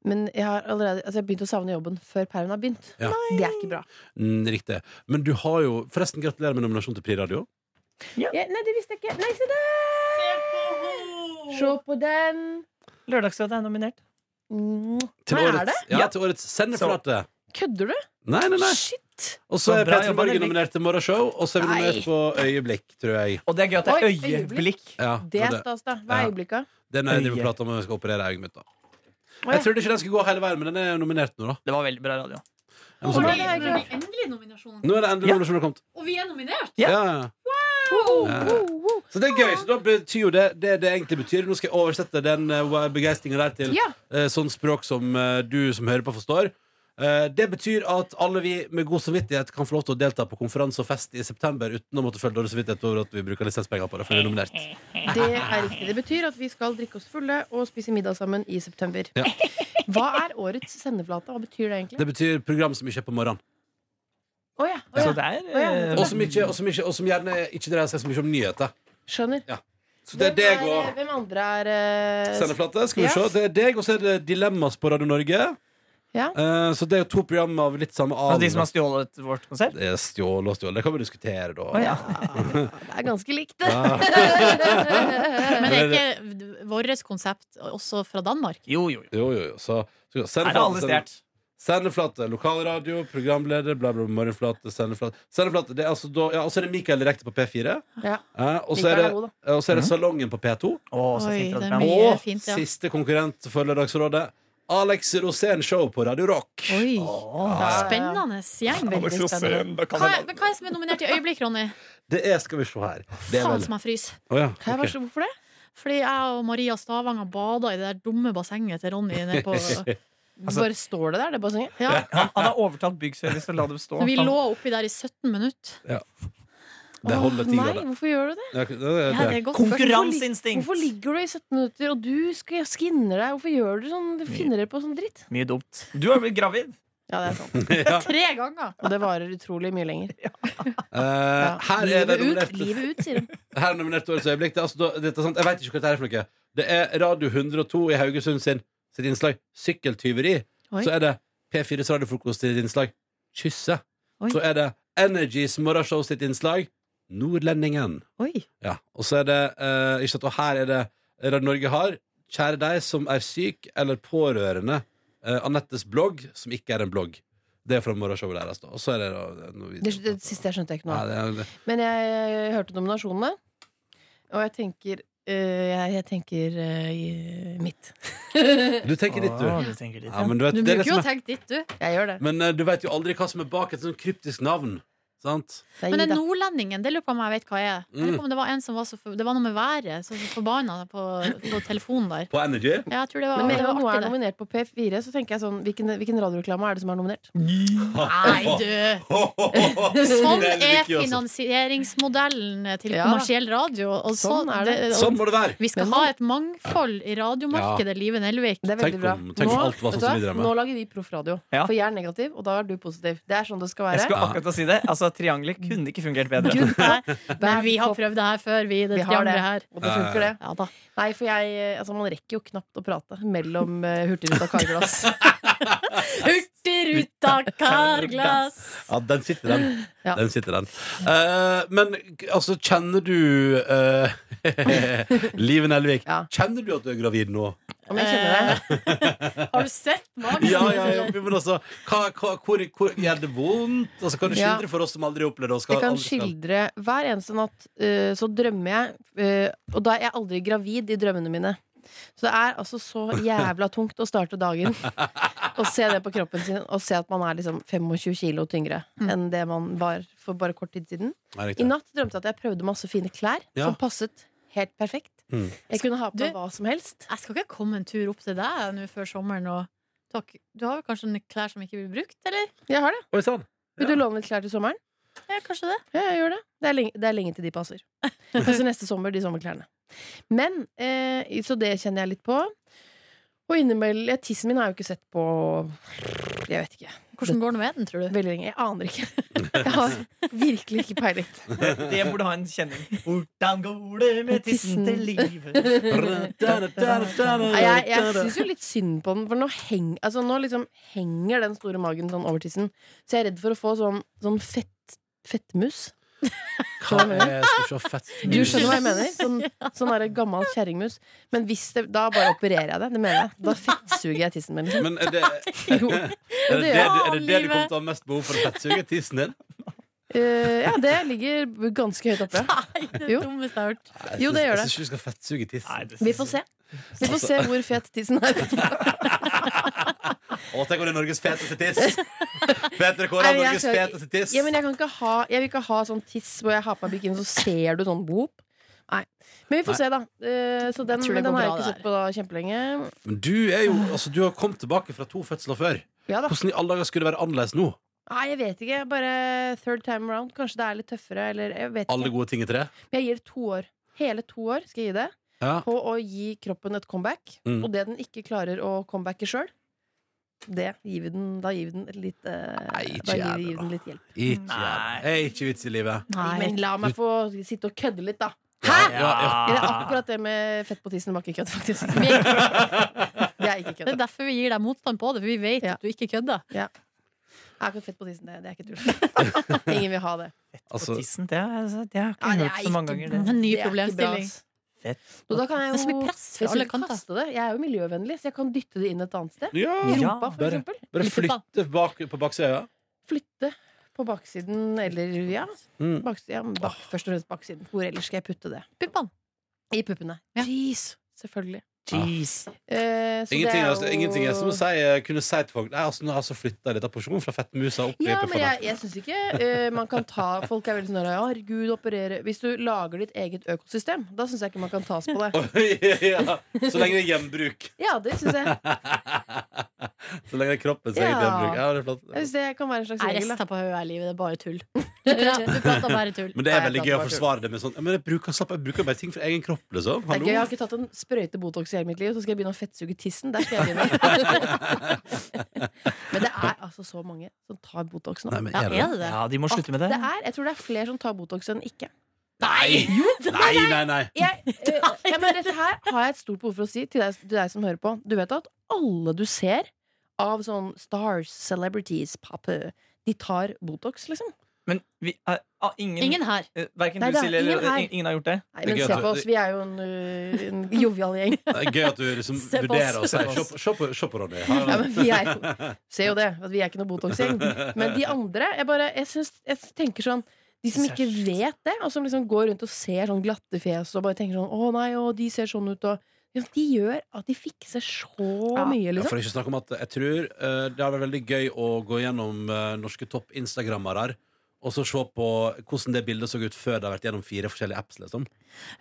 Speaker 1: Men jeg har allerede altså jeg har begynt å savne jobben før permen har begynt.
Speaker 2: Ja.
Speaker 1: Det er ikke bra.
Speaker 2: Mm, riktig. Men du har jo Forresten, gratulerer med nominasjon til Pri Radio.
Speaker 1: Ja, nei, det visste jeg ikke. Nei, se der! Se på den.
Speaker 3: Lørdagsrådet er nominert.
Speaker 1: Mm.
Speaker 2: Til
Speaker 1: Hva er
Speaker 2: årets,
Speaker 1: det?
Speaker 2: Ja,
Speaker 3: Ja.
Speaker 2: til årets sendeflate.
Speaker 1: Kødder du?
Speaker 2: Nei, nei, nei.
Speaker 1: Shit!
Speaker 2: Og så
Speaker 3: Så
Speaker 2: er
Speaker 3: bra
Speaker 2: Petra
Speaker 3: jobba,
Speaker 2: Borgen
Speaker 3: Nelvik.
Speaker 2: nominert til Morgenshow, og så er vi
Speaker 1: Nei.
Speaker 2: nominert på Øyeblikk, tror jeg.
Speaker 3: Og det er gøy at det
Speaker 1: Oi,
Speaker 3: er øyeblikk.
Speaker 2: Ja,
Speaker 1: Det er
Speaker 2: det,
Speaker 1: stas, da. Hva er
Speaker 2: Ja.
Speaker 1: øyeblikka?
Speaker 2: det er når jeg driver og
Speaker 3: Øye.
Speaker 2: prater om om jeg skal operere øyet mitt. da
Speaker 1: Å,
Speaker 2: Jeg
Speaker 1: ja.
Speaker 2: trodde ikke den skulle gå hele veien, men den er jo nominert nå, da.
Speaker 3: Det var veldig bra radio.
Speaker 2: Jeg må
Speaker 1: Å,
Speaker 2: se
Speaker 1: nei,
Speaker 2: på den.
Speaker 1: det har jeg
Speaker 4: Når
Speaker 1: ikke
Speaker 4: det
Speaker 1: hørt.
Speaker 4: er endelig nominasjonen.
Speaker 2: Nå er det endelig
Speaker 3: Ja.
Speaker 2: nominasjonen kommet.
Speaker 4: Og vi er nominert!
Speaker 3: Ja.
Speaker 2: Ja, ja.
Speaker 1: Wow, wow.
Speaker 2: Så det er gøy. Så da betyr jo det det det egentlig betyr. Nå skal jeg oversette den uh, begeistringa der til
Speaker 1: Ja.
Speaker 2: eh, sånn språk som eh, du som hører på, forstår. Eh, det betyr at alle vi med god samvittighet kan få lov til å delta på konferanse og fest i september uten å måtte føle dårlig samvittighet over at vi bruker lisenspenger på det. For vi er nominert
Speaker 1: Det er riktig. Det betyr at vi skal drikke oss fulle og spise middag sammen i september.
Speaker 2: Ja.
Speaker 1: Hva er årets sendeflate? Hva betyr det egentlig?
Speaker 2: Det betyr program som ikke er på morgenen.
Speaker 1: Å ja, å
Speaker 3: Så
Speaker 1: ja.
Speaker 3: det er
Speaker 1: Å,
Speaker 3: eh,
Speaker 1: ja, nettopp.
Speaker 2: Og som, ikke, og, som ikke, og som gjerne ikke dreier seg så mye om nyheter.
Speaker 1: Skjønner.
Speaker 2: Så det er deg
Speaker 1: Hvem er-
Speaker 2: og
Speaker 1: Hvem andre er eh,
Speaker 2: Sendeflate. Skal vi se.
Speaker 1: Ja.
Speaker 2: Det er deg, og så er det Dilemmas på Radio Norge.
Speaker 1: Ja.
Speaker 2: Eh, så det er jo to program av litt samme
Speaker 3: altså de som har stjålet vårt konsept?
Speaker 2: Det er eh, stjål og stjål. Det kan vi diskutere, da.
Speaker 3: Å, ja.
Speaker 1: Det er ganske likt.
Speaker 2: Ja.
Speaker 4: Men er ikke vårt konsept også fra Danmark?
Speaker 3: Jo, jo, jo.
Speaker 2: Jo, jo, jo. Så, så
Speaker 3: Her er alle stjålet.
Speaker 2: Sendeflate, lokalradio, programleder, bla, bla, bla, morgenflate, sendeflate. Sendeflate, det er altså da Ja, og så er det Mikael direkte på P4.
Speaker 1: Ja.
Speaker 2: Eh, og så
Speaker 1: Mikael
Speaker 2: er det,
Speaker 1: er god, da.
Speaker 2: og så er det
Speaker 3: Mhm.
Speaker 2: Salongen på P2.
Speaker 3: Å, så
Speaker 4: Oi,
Speaker 3: fint
Speaker 4: det er
Speaker 3: radioprogram.
Speaker 4: mye
Speaker 2: Og
Speaker 4: fint, ja.
Speaker 2: siste konkurrent for Lørdagsrådet, Alex Rosén Show på Radio Rock.
Speaker 4: Oi,
Speaker 3: Å,
Speaker 1: Ja, ja, ja.
Speaker 4: spennende gjeng.
Speaker 1: Veldig spennende.
Speaker 4: Hva er, men hva er det som er nominert i øyeblikk, Ronny?
Speaker 2: Det er Skal vi se her. Det er
Speaker 4: Faen
Speaker 2: vel
Speaker 4: som jeg fryser.
Speaker 2: Å ja,
Speaker 1: Hæ,
Speaker 2: ok.
Speaker 1: hva så- Hvorfor det?
Speaker 4: Fordi jeg og Maria Stavanger bada i det der dumme bassenget til Ronny nede på
Speaker 3: Altså-
Speaker 1: Bare står det der, det bassenget?
Speaker 4: ja.
Speaker 3: Han, han har overtalt Byggservice til å la det stå.
Speaker 4: Når vi
Speaker 3: Han-
Speaker 4: lå oppi der i 17 minutter.
Speaker 2: Det holder
Speaker 1: Åh,
Speaker 2: ti
Speaker 1: Nei,
Speaker 2: grader.
Speaker 1: hvorfor gjør du det?
Speaker 2: Ja, det- det-
Speaker 4: Ja, det
Speaker 2: det-
Speaker 4: er godt.
Speaker 3: Konkurranseinstinkt!
Speaker 1: Hvorfor ligger du i 17 minutter, og du skal skinner deg? Hvorfor gjør du sånn? Du finner dere på sånn dritt?
Speaker 3: Mye dumt. Du har blitt gravid.
Speaker 1: Ja, det er sånn.
Speaker 2: Ja.
Speaker 4: Tre ganger!
Speaker 1: Og det varer utrolig mye lenger.
Speaker 2: Eh,
Speaker 1: Ja.
Speaker 2: Her er det
Speaker 1: livet,
Speaker 2: nominert
Speaker 1: ut, livet ut, sier de.
Speaker 2: Her er nominert til årets øyeblikk. Det er, altså, da- dette er sant. Jeg vet ikke hva dette er for noe. Det er Radio 102 i Haugesund sin, sitt innslag 'Sykkeltyveri'.
Speaker 4: Oi.
Speaker 2: Så er det P4s radiofrokost sitt innslag 'Kysse'.
Speaker 4: Oi.
Speaker 2: Så er det Energys morgenshow sitt innslag 'Nordlendingen'.
Speaker 4: Oi.
Speaker 2: Ja. Og så er det eh, ikke sant, Og her er det Radio Norge har 'Kjære deg som er syk eller pårørende'. eh, Anettes blogg, som ikke er en blogg. Det er fra morgenshowet deres. da. Og så er det da noe
Speaker 1: Det, det siste jeg skjønte jeg ikke noe
Speaker 2: Ja,
Speaker 1: av.
Speaker 2: det er, det.
Speaker 1: Men jeg, eh, hørte nominasjonene, og jeg tenker eh, jeg, jeg tenker eh, i- mitt.
Speaker 2: Du tenker litt, du.
Speaker 3: Å, du tenker Ah, litt,
Speaker 2: Ja,
Speaker 3: ja.
Speaker 2: men du, vet,
Speaker 4: Du
Speaker 2: det er det
Speaker 4: bruker
Speaker 2: som
Speaker 4: jo
Speaker 2: er-
Speaker 4: å tenke ditt, du.
Speaker 1: Jeg gjør det.
Speaker 2: Men eh, du vet jo aldri hva som er bak et sånn kryptisk navn. Sant?
Speaker 1: Det er
Speaker 4: Men den
Speaker 1: Ida.
Speaker 4: nordlendingen, det lurer på om jeg vet hva jeg er. Jeg
Speaker 2: Mm.
Speaker 4: lurer på om det var en som var så for, Det var noe med været, så så forbanna på, på telefonen der.
Speaker 2: På Energy?
Speaker 4: Ja, jeg tror det var,
Speaker 1: Men med
Speaker 4: det
Speaker 1: en gang noe
Speaker 4: var
Speaker 1: er
Speaker 4: artig, det.
Speaker 1: nominert på P4, så tenker jeg sånn Hvilken, hvilken radioreklame er det som er nominert?
Speaker 4: Nei, du! Sånn er finansieringsmodellen til
Speaker 1: Ja.
Speaker 4: kommersiell radio. Og sånn,
Speaker 1: Sånn er det.
Speaker 4: og
Speaker 2: Sånn må det være!
Speaker 4: Vi skal
Speaker 1: Men
Speaker 4: ha
Speaker 1: man-
Speaker 4: et mangfold i radiomarkedet, Live Nelvik.
Speaker 1: Det er
Speaker 2: Tenk
Speaker 1: veldig bra.
Speaker 2: om- tenk om alt var sånn
Speaker 1: vet du
Speaker 2: som
Speaker 1: hva?
Speaker 2: vi drømmer.
Speaker 1: Nå lager vi proffradio.
Speaker 3: Ja.
Speaker 1: For jeg er negativ, og da er du positiv. Det er sånn det skal
Speaker 3: Jeg
Speaker 1: være.
Speaker 3: skulle akkurat til å si det. Altså, Triangelet kunne ikke fungert bedre.
Speaker 4: Gud, nei. Men
Speaker 1: Hver
Speaker 4: vi har
Speaker 1: kopp-
Speaker 4: prøvd det her før, vi. Det
Speaker 1: Vi har det.
Speaker 4: triangelet her.
Speaker 1: Og det funker, det.
Speaker 4: Ja da.
Speaker 1: Nei, for jeg, eh, altså, man rekker jo knapt å prate mellom uh, Hurtigruta og Karglass.
Speaker 4: Hurtigruta, karglass!
Speaker 2: Ja, den sitter, den.
Speaker 1: Ja.
Speaker 2: den, sitter den. Eh, men k- altså, kjenner du uh, Liven Elvik,
Speaker 1: Ja.
Speaker 2: kjenner du at du er gravid nå?
Speaker 1: Om jeg kjenner det.
Speaker 4: Har du sett magen?
Speaker 2: Ja, ja, ja, men altså, hva, hva, hvor, hvor gjør det vondt? Altså, kan du
Speaker 1: Ja.
Speaker 2: skildre for oss som aldri har opplevd det? og skal-
Speaker 1: Jeg kan
Speaker 2: aldri skal-
Speaker 1: skildre hver eneste natt eh, Så drømmer jeg eh, Og da er jeg aldri gravid i drømmene mine Så det er altså så jævla tungt Å starte dagen Og se det på kroppen sin Og se at man er liksom 25 kilo tyngre
Speaker 2: Mm.
Speaker 1: Enn det man var for bare kort tid siden
Speaker 2: Nei, riktig.
Speaker 1: I natt drømte jeg at jeg prøvde masse fine klær
Speaker 2: Ja.
Speaker 1: Som passet helt perfekt
Speaker 2: Mm.
Speaker 1: Jeg kunne ha på
Speaker 4: Du-
Speaker 1: meg hva som helst
Speaker 4: Jeg skal ikke komme en tur opp til deg eh, nå før sommeren. Og Takk. Du har vel kanskje en klær som ikke blir brukt, eller?
Speaker 1: Jeg har det
Speaker 3: sånn.
Speaker 2: Oi sann!
Speaker 1: Vil du låne litt klær til sommeren?
Speaker 4: Ja, kanskje det.
Speaker 1: Ja, jeg gjør det. Det er lenge, det er lenge til de passer. Altså neste sommer, de sommerklærne. Men, eh, Så det kjenner jeg litt på. Og innimellom ja, Tissen min har jeg jo ikke sett på Jeg vet ikke.
Speaker 4: Hvordan går det med den, tror du?
Speaker 1: Veldig lenge. Jeg aner ikke. Jeg har virkelig ikke peiling.
Speaker 3: Det burde ha en kjenning. Hvordan går det med tissen til livet?
Speaker 1: Nei, Jeg, jeg syns jo litt synd på den, for nå, heng, altså nå liksom henger den store magen sånn over tissen. Så jeg er redd for å få sånn, sånn fett, fettmus.
Speaker 2: Hva er skal se fett
Speaker 1: Du skjønner hva jeg mener? Sånn, sånn der gammel kjerringmus. Men hvis det, da bare opererer jeg det. Det mener jeg. Da fettsuger jeg tissen min.
Speaker 2: Men er det
Speaker 1: Jo.
Speaker 2: er det, det, du- er det det du kommer til å ha mest behov for å fettsuge? Tissen din?
Speaker 1: Eh, ja, det ligger ganske høyt oppe.
Speaker 4: Nei, det er det
Speaker 1: Jo.
Speaker 4: dummeste jeg har hørt.
Speaker 2: Nei, jeg
Speaker 1: Jo, det
Speaker 2: syns-
Speaker 1: gjør
Speaker 2: Jeg syns ikke du skal fettsuge tissen.
Speaker 1: Vi får se. Vi får se hvor fet tissen er.
Speaker 2: Å, tenk om det er Norges feteste tiss! Fetere kåre
Speaker 1: Nei,
Speaker 2: av
Speaker 1: men jeg
Speaker 2: Norges
Speaker 1: skal-
Speaker 2: feteste tiss!
Speaker 1: Ja, men jeg, kan ikke ha, jeg vil ikke ha sånn tiss hvor jeg har på meg bikini, så ser du sånn boop. Nei. Men vi får se, da. Eh, så den,
Speaker 4: Jeg tror det
Speaker 1: den
Speaker 4: går
Speaker 1: har jeg ikke
Speaker 4: bra, det
Speaker 1: sett på da kjempelenge.
Speaker 2: Men du er jo Altså, du har kommet tilbake fra to fødsler før.
Speaker 1: Ja da.
Speaker 2: Hvordan i alle dager skulle det være annerledes nå?
Speaker 1: Nei, jeg vet ikke. Bare third time around. Kanskje det er litt tøffere, eller jeg vet
Speaker 2: Alle
Speaker 1: ikke.
Speaker 2: gode ting i tre?
Speaker 1: Men jeg gir det to år. Hele to år skal jeg gi det
Speaker 2: Ja.
Speaker 1: på å gi kroppen et comeback.
Speaker 2: Mm.
Speaker 1: Og det den ikke klarer å comebacke sjøl, det gir vi den Da gir vi den litt, eh,
Speaker 2: Nei, ikke
Speaker 1: da gir
Speaker 2: jeg
Speaker 1: vi
Speaker 2: det, da.
Speaker 1: den litt hjelp.
Speaker 2: Ikke,
Speaker 3: Nei.
Speaker 2: er ikke vits i livet.
Speaker 4: Nei,
Speaker 1: Men la meg få sitte og kødde litt, da. Det er
Speaker 3: Ja.
Speaker 1: akkurat det med fett på tissen var ikke kødd, faktisk. Det er ikke
Speaker 4: Det er
Speaker 1: kødd.
Speaker 4: derfor vi gir deg motstand på det, for vi vet
Speaker 1: Ja.
Speaker 4: at du ikke kødder.
Speaker 1: Akkurat fett på tissen, det, det er ikke tull. Ingen vil ha det.
Speaker 2: Altså,
Speaker 3: Og tissen, det, har jeg- det har jeg ikke
Speaker 1: Nei, det er
Speaker 3: hørt så mange
Speaker 1: ikke
Speaker 3: ganger.
Speaker 4: En
Speaker 1: Det
Speaker 4: ny
Speaker 1: er ikke bra,
Speaker 4: problemstilling.
Speaker 1: ass.
Speaker 3: Fett.
Speaker 1: Og da kan jeg
Speaker 4: Det er så
Speaker 1: jo
Speaker 4: mye press
Speaker 1: jeg
Speaker 4: fra
Speaker 1: skal
Speaker 4: alle
Speaker 1: ikke
Speaker 4: kanter.
Speaker 1: kaste det. Jeg er jo miljøvennlig, så jeg kan dytte det inn et annet sted.
Speaker 2: ja.
Speaker 1: I
Speaker 3: Ja,
Speaker 1: rumpa, for
Speaker 2: bare-
Speaker 1: eksempel.
Speaker 2: Bare
Speaker 4: I fotball.
Speaker 2: flytte bak, på baksida.
Speaker 1: Flytte på baksiden, eller ja,
Speaker 2: Mm.
Speaker 1: baksiden, ja, men bak, først og fremst baksiden. Hvor ellers skal jeg putte det?
Speaker 4: Puppene.
Speaker 1: I puppene.
Speaker 4: Ja.
Speaker 1: Jeez, selvfølgelig.
Speaker 3: Jeez.
Speaker 1: Eh, så det
Speaker 2: Ingenting,
Speaker 1: er
Speaker 2: altså,
Speaker 1: jo-
Speaker 2: ingenting er som å si, eh, kunne si til folk Nei, altså, nå har jeg altså flytta litt av porsjonen fra fettmusa opp i
Speaker 1: Ja, men
Speaker 2: puppene.
Speaker 1: jeg, jeg syns ikke eh, man kan ta Folk er veldig sånn der, Herregud, operere Hvis du lager ditt eget økosystem, da syns jeg ikke man kan tas på det.
Speaker 2: ja. Så lenge det er gjenbruk.
Speaker 1: Ja, det syns jeg.
Speaker 2: Så lenge det er kroppen som er
Speaker 1: Ja.
Speaker 2: gjenbruk. Ja, det er
Speaker 1: Jeg
Speaker 2: flott.
Speaker 1: synes det kan være en slags
Speaker 4: Jeg
Speaker 1: regel. da.
Speaker 4: rister på hodet i livet, det er bare tull. Du prater du prater bare tull.
Speaker 2: Men det er
Speaker 1: Nei,
Speaker 2: veldig
Speaker 1: jeg
Speaker 2: gøy å
Speaker 1: kan bare
Speaker 2: forsvare det med sånn Men jeg bruker, slapp, jeg bruker bare ting fra egen kropp, liksom.
Speaker 1: Det er
Speaker 2: Hallo?
Speaker 1: gøy, Jeg har ikke tatt en sprøyte Botox i hele mitt liv, så skal jeg begynne å fettsuge tissen. Der skal jeg begynne. men det er altså så mange som tar Botox nå.
Speaker 2: Nei, men
Speaker 4: Ja,
Speaker 2: er det
Speaker 4: er det det?
Speaker 3: Ja, de må slutte med det.
Speaker 1: Det er, jeg tror det er flere som tar Botox enn ikke.
Speaker 2: Nei! Nei, nei, nei.
Speaker 1: Jeg, eh, ja, men dette her har jeg et stort behov for å si til deg, til deg som hører på. Du vet at alle du ser av sånn stars, celebrities, pappe, de tar Botox, liksom.
Speaker 3: Men vi er, ah, ingen,
Speaker 4: Ingen her.
Speaker 3: eh, Hverken
Speaker 1: Nei,
Speaker 3: du,
Speaker 1: det er
Speaker 3: Silje,
Speaker 1: ingen
Speaker 3: eller eh,
Speaker 1: her.
Speaker 3: ingen- ingen har gjort det?
Speaker 1: Nei,
Speaker 2: Det er
Speaker 1: men
Speaker 2: gøy
Speaker 1: se
Speaker 2: at
Speaker 1: på
Speaker 2: du-
Speaker 1: oss, vi er jo en, øh, en jovial gjeng.
Speaker 2: Det er gøy at du liksom
Speaker 4: Se på oss.
Speaker 2: vurderer å si
Speaker 4: Se på
Speaker 2: Se
Speaker 4: oss.
Speaker 2: på- Se på- se på Ronny. Har
Speaker 1: Ja,
Speaker 2: han-
Speaker 1: men vi er jo Ser jo det, at vi er ikke noe Botox-gjeng. Men de andre Jeg bare Jeg, syns, jeg tenker sånn de som ikke vet det, og som liksom går rundt og ser sånn glatte fjes og bare tenker sånn 'Å nei, å, de ser sånn ut', og ja, De gjør at de fikser så
Speaker 4: Ja.
Speaker 1: mye,
Speaker 2: Ja,
Speaker 1: liksom.
Speaker 2: for ikke å snakke om at jeg tror eh, det hadde vært veldig gøy å gå gjennom eh, norske topp-instagrammere og så se på hvordan det bildet så ut før det har vært gjennom fire forskjellige apps. Liksom.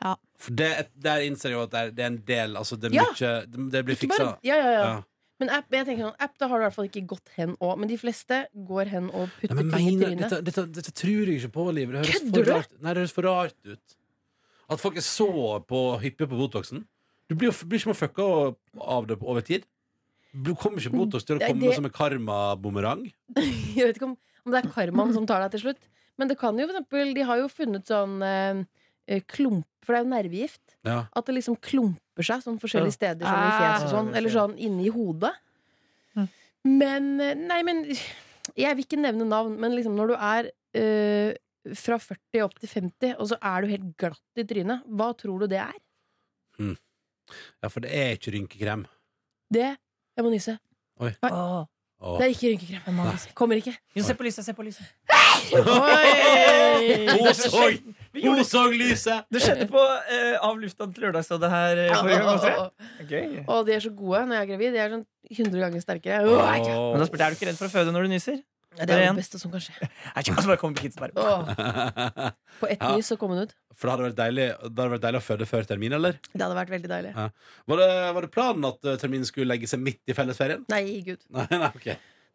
Speaker 4: Ja.
Speaker 2: For det, der innser jeg jo at det er, det er en del altså det, er
Speaker 1: Ja.
Speaker 2: mye, det, det blir
Speaker 1: Ikke
Speaker 2: fiksa.
Speaker 1: bare, ja, ja, ja.
Speaker 2: Ja.
Speaker 1: Men app, jeg tenker sånn, app, da har du i hvert fall ikke gått hen òg. Men de fleste går hen og
Speaker 2: Nei,
Speaker 1: putter
Speaker 2: men
Speaker 1: ting i
Speaker 2: mener,
Speaker 1: trynet.
Speaker 2: dette, dette, dette tror jeg ikke på, Liv. Det høres,
Speaker 1: Kødder
Speaker 2: for
Speaker 1: du?
Speaker 2: rart, nei, det høres for rart ut. At folk er så på, hyppige på Botoxen. Du blir, jo- blir ikke mer fucka av det over tid. Du kommer ikke Botox til å
Speaker 1: Nei,
Speaker 2: komme
Speaker 1: det-
Speaker 2: som en karmabumerang.
Speaker 1: Jeg vet ikke om, om det er karmaen som tar deg til slutt. Men det kan jo for eksempel, de har jo funnet sånn eh, eh, klump For det er jo nervegift.
Speaker 2: Ja.
Speaker 1: At det liksom klumper seg sånn forskjellige steder sånn i
Speaker 4: Ah.
Speaker 1: fjeset og sånn. Eller sånn inni hodet.
Speaker 4: Mm.
Speaker 1: Men eh, Nei, men jeg vil ikke nevne navn, men liksom når du er eh, fra 40 opp til 50, og så er du helt glatt i trynet, hva tror du det er?
Speaker 2: Ja, for det er ikke rynkekrem.
Speaker 1: Det Jeg må nyse.
Speaker 3: Åh,
Speaker 2: Åh.
Speaker 1: Det er ikke rynkekrem.
Speaker 3: hvem har lyst?
Speaker 1: Kommer ikke.
Speaker 3: Jo, se på lyset, se på lyset.
Speaker 1: Oi!
Speaker 2: Hun så,
Speaker 3: Vi gjorde
Speaker 2: hun så lyset!
Speaker 3: Det skjedde på eh, Av lufta til lørdagsrådet her. eh, forrige gang, tror jeg. Gøy.
Speaker 1: Og de er så gode når jeg er gravid. De er sånn 100 ganger sterkere. Åh,
Speaker 2: Åh.
Speaker 1: ikke.
Speaker 3: Men da spurte jeg, Er du ikke redd for å føde når du nyser?
Speaker 1: det er det beste som kan skje.
Speaker 3: Nei, ikke- Og så bare kommer kidsen bare
Speaker 1: Åh,
Speaker 2: For
Speaker 1: På ett
Speaker 2: Ja.
Speaker 1: nys så kom hun ut.
Speaker 2: det hadde vært deilig, det hadde vært deilig å føde før termin, eller?
Speaker 1: Det hadde vært veldig deilig.
Speaker 2: Var det, var det planen at eh, terminen skulle legge seg midt i fellesferien?
Speaker 1: Nei, gud.
Speaker 2: Nei, nei, ok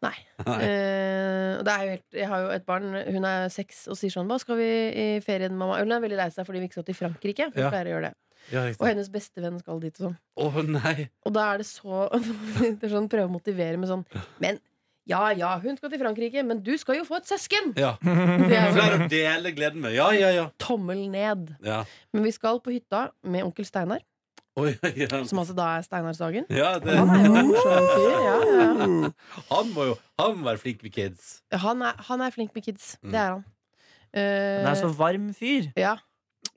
Speaker 1: Nei. Eh, og det er jo helt, jeg har jo et barn, hun er seks, og sier sånn 'Hva skal vi i ferien, mamma?' Hun er veldig lei seg fordi vi ikke skal til Frankrike. Hun
Speaker 2: Ja.
Speaker 1: pleier å gjøre det.
Speaker 2: Ja,
Speaker 1: Og
Speaker 2: riktig.
Speaker 1: hennes bestevenn skal dit og sånn.
Speaker 2: Å nei!
Speaker 1: Og da er det så det er sånn, Prøve å motivere med sånn Men ja, ja, hun skal til Frankrike, men du skal jo få et søsken!
Speaker 2: Ja.
Speaker 1: Det er jo
Speaker 2: Flere å dele gleden med. Ja, ja, ja.
Speaker 1: tommel ned.
Speaker 2: ja.
Speaker 1: Men vi skal på hytta med onkel Steinar,
Speaker 2: Oi, ja.
Speaker 1: som altså da er Steinarsdagen.
Speaker 2: Ja, det,
Speaker 3: Mm.
Speaker 1: Han er jo en morsom fyr. Ja, ja, ja.
Speaker 2: han må jo han må være flink med kids.
Speaker 1: Han, er, han er flink med kids.
Speaker 2: Mm.
Speaker 1: Det er han. Eh,
Speaker 3: Mm. Han er så varm fyr.
Speaker 1: ja.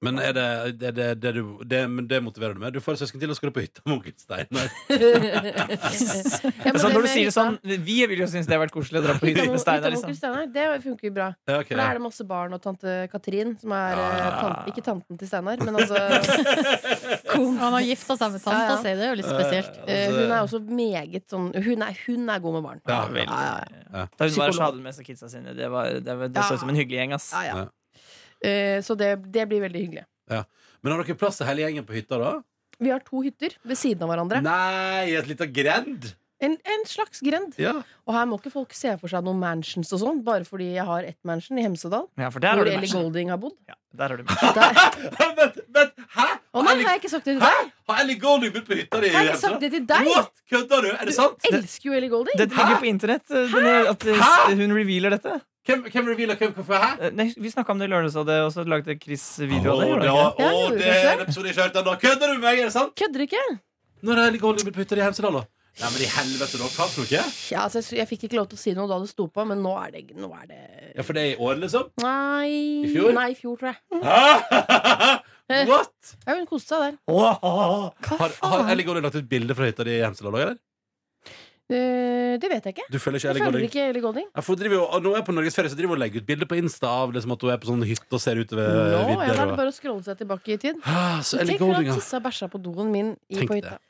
Speaker 2: Men er det, det, det, det, du, det, men det motiverer du med? Du får søsken til, og skal du på hytta med onkel Steinar.
Speaker 1: Ja, men
Speaker 3: Det er sånn
Speaker 1: det
Speaker 3: når du
Speaker 1: med
Speaker 3: sier det
Speaker 1: hytta-
Speaker 3: sånn Vi ville jo synes det hadde vært koselig å dra på hytta
Speaker 1: hytta
Speaker 3: med Steinar.
Speaker 1: onkel
Speaker 3: Liksom.
Speaker 1: Steinar, Det funker jo bra.
Speaker 2: Ja, ok,
Speaker 1: For da er det masse barn og tante Katrin, som er eh,
Speaker 2: Ja.
Speaker 1: tan- ikke tanten til Steinar, men altså
Speaker 4: Og han har gifta seg med
Speaker 1: Ja,
Speaker 4: tanta
Speaker 1: ja.
Speaker 4: si. Det er jo litt spesielt.
Speaker 1: eh, Hun er også meget sånn Hun er, hun er god med barn.
Speaker 2: Ja, veldig.
Speaker 1: ja,
Speaker 3: Da hun var her,
Speaker 1: Psykolog.
Speaker 3: så hadde hun med seg kidsa sine. Det, var, det, var, det så
Speaker 1: Ja.
Speaker 3: ut som en hyggelig gjeng. ass
Speaker 1: ja, ja. Eh, Så det, det blir veldig hyggelig.
Speaker 2: Men har dere plass til hele gjengen på hytta, da?
Speaker 1: Vi har to hytter ved siden av hverandre.
Speaker 2: Nei, et lite grend!
Speaker 1: En, en slags grend.
Speaker 2: Ja.
Speaker 1: Og her må ikke folk se for seg noen mansions og sånn, bare fordi jeg har ett mansion i Hemsedal,
Speaker 3: Ja, for der har
Speaker 1: hvor
Speaker 3: du
Speaker 1: Ellie
Speaker 3: matchen.
Speaker 1: Golding har bodd.
Speaker 3: Ja, der har du matchen.
Speaker 1: Der.
Speaker 2: vent, vent, hæ?
Speaker 1: Å nei, har jeg ikke sagt det til
Speaker 2: Hæ?
Speaker 1: deg?
Speaker 2: Har Ellie Golding begynt på hytta di? altså?
Speaker 1: Har jeg ikke sagt det til deg?
Speaker 2: What? Kødder du? Er det sant?
Speaker 1: Jeg elsker jo Ellie Golding.
Speaker 3: Dette ligger jo på internett. eh, Denne, at eh,
Speaker 2: Hæ?
Speaker 3: hun revealer dette.
Speaker 2: Hvem, hvem revealer hvem? Hvorfor? Hæ?
Speaker 3: Eh, Nei, vi snakka om det i Lørdagsrådet, og så lagde Chris video av
Speaker 2: Å,
Speaker 3: det. gjorde
Speaker 2: det,
Speaker 3: han ikke
Speaker 1: Ja,
Speaker 2: å,
Speaker 1: gjorde
Speaker 2: det
Speaker 1: kanskje
Speaker 2: er
Speaker 1: det.
Speaker 2: en episode jeg ikke har hørt ennå. Kødder du med meg? Er det sant?
Speaker 1: Kødder ikke?
Speaker 2: Når er Ellie Golding begynt på hytta di i Hemsedal, da? Nei, men i helvete, da. Hva for noe?
Speaker 1: Ja, altså, jeg, jeg fikk ikke lov til å si noe da det sto på, men nå er det, nå er det
Speaker 2: Ja, for det er i år, liksom?
Speaker 1: Nei
Speaker 2: I fjor?
Speaker 1: Nei, i fjor, tror jeg.
Speaker 2: Hæ? What?
Speaker 1: Ja, hun koste seg der.
Speaker 4: Hva
Speaker 2: Har, har
Speaker 4: faen?
Speaker 2: Ellie Golding lagt ut bilde fra hytta di i Hemsedal òg, eller?
Speaker 1: Eh, det vet jeg ikke.
Speaker 2: Du følger ikke
Speaker 1: Jeg
Speaker 2: Ellie
Speaker 1: følger
Speaker 2: Golding?
Speaker 1: ikke Ellie Golding.
Speaker 2: Ja, for hun driver jo, og nå er jeg på norgesferie, så driver hun og legger ut bilder på Insta av liksom at hun er på sånn hytte og ser utover
Speaker 1: Nå ja, da
Speaker 2: vidder.
Speaker 1: er det
Speaker 2: Og...
Speaker 1: bare å scrolle seg tilbake i tid.
Speaker 2: Ah, så Ellie
Speaker 1: Tenk når
Speaker 2: Golding,
Speaker 1: han
Speaker 2: ja.
Speaker 1: tissa og bæsja på doen min i,
Speaker 2: Tenk
Speaker 1: på
Speaker 2: det.
Speaker 1: hytta.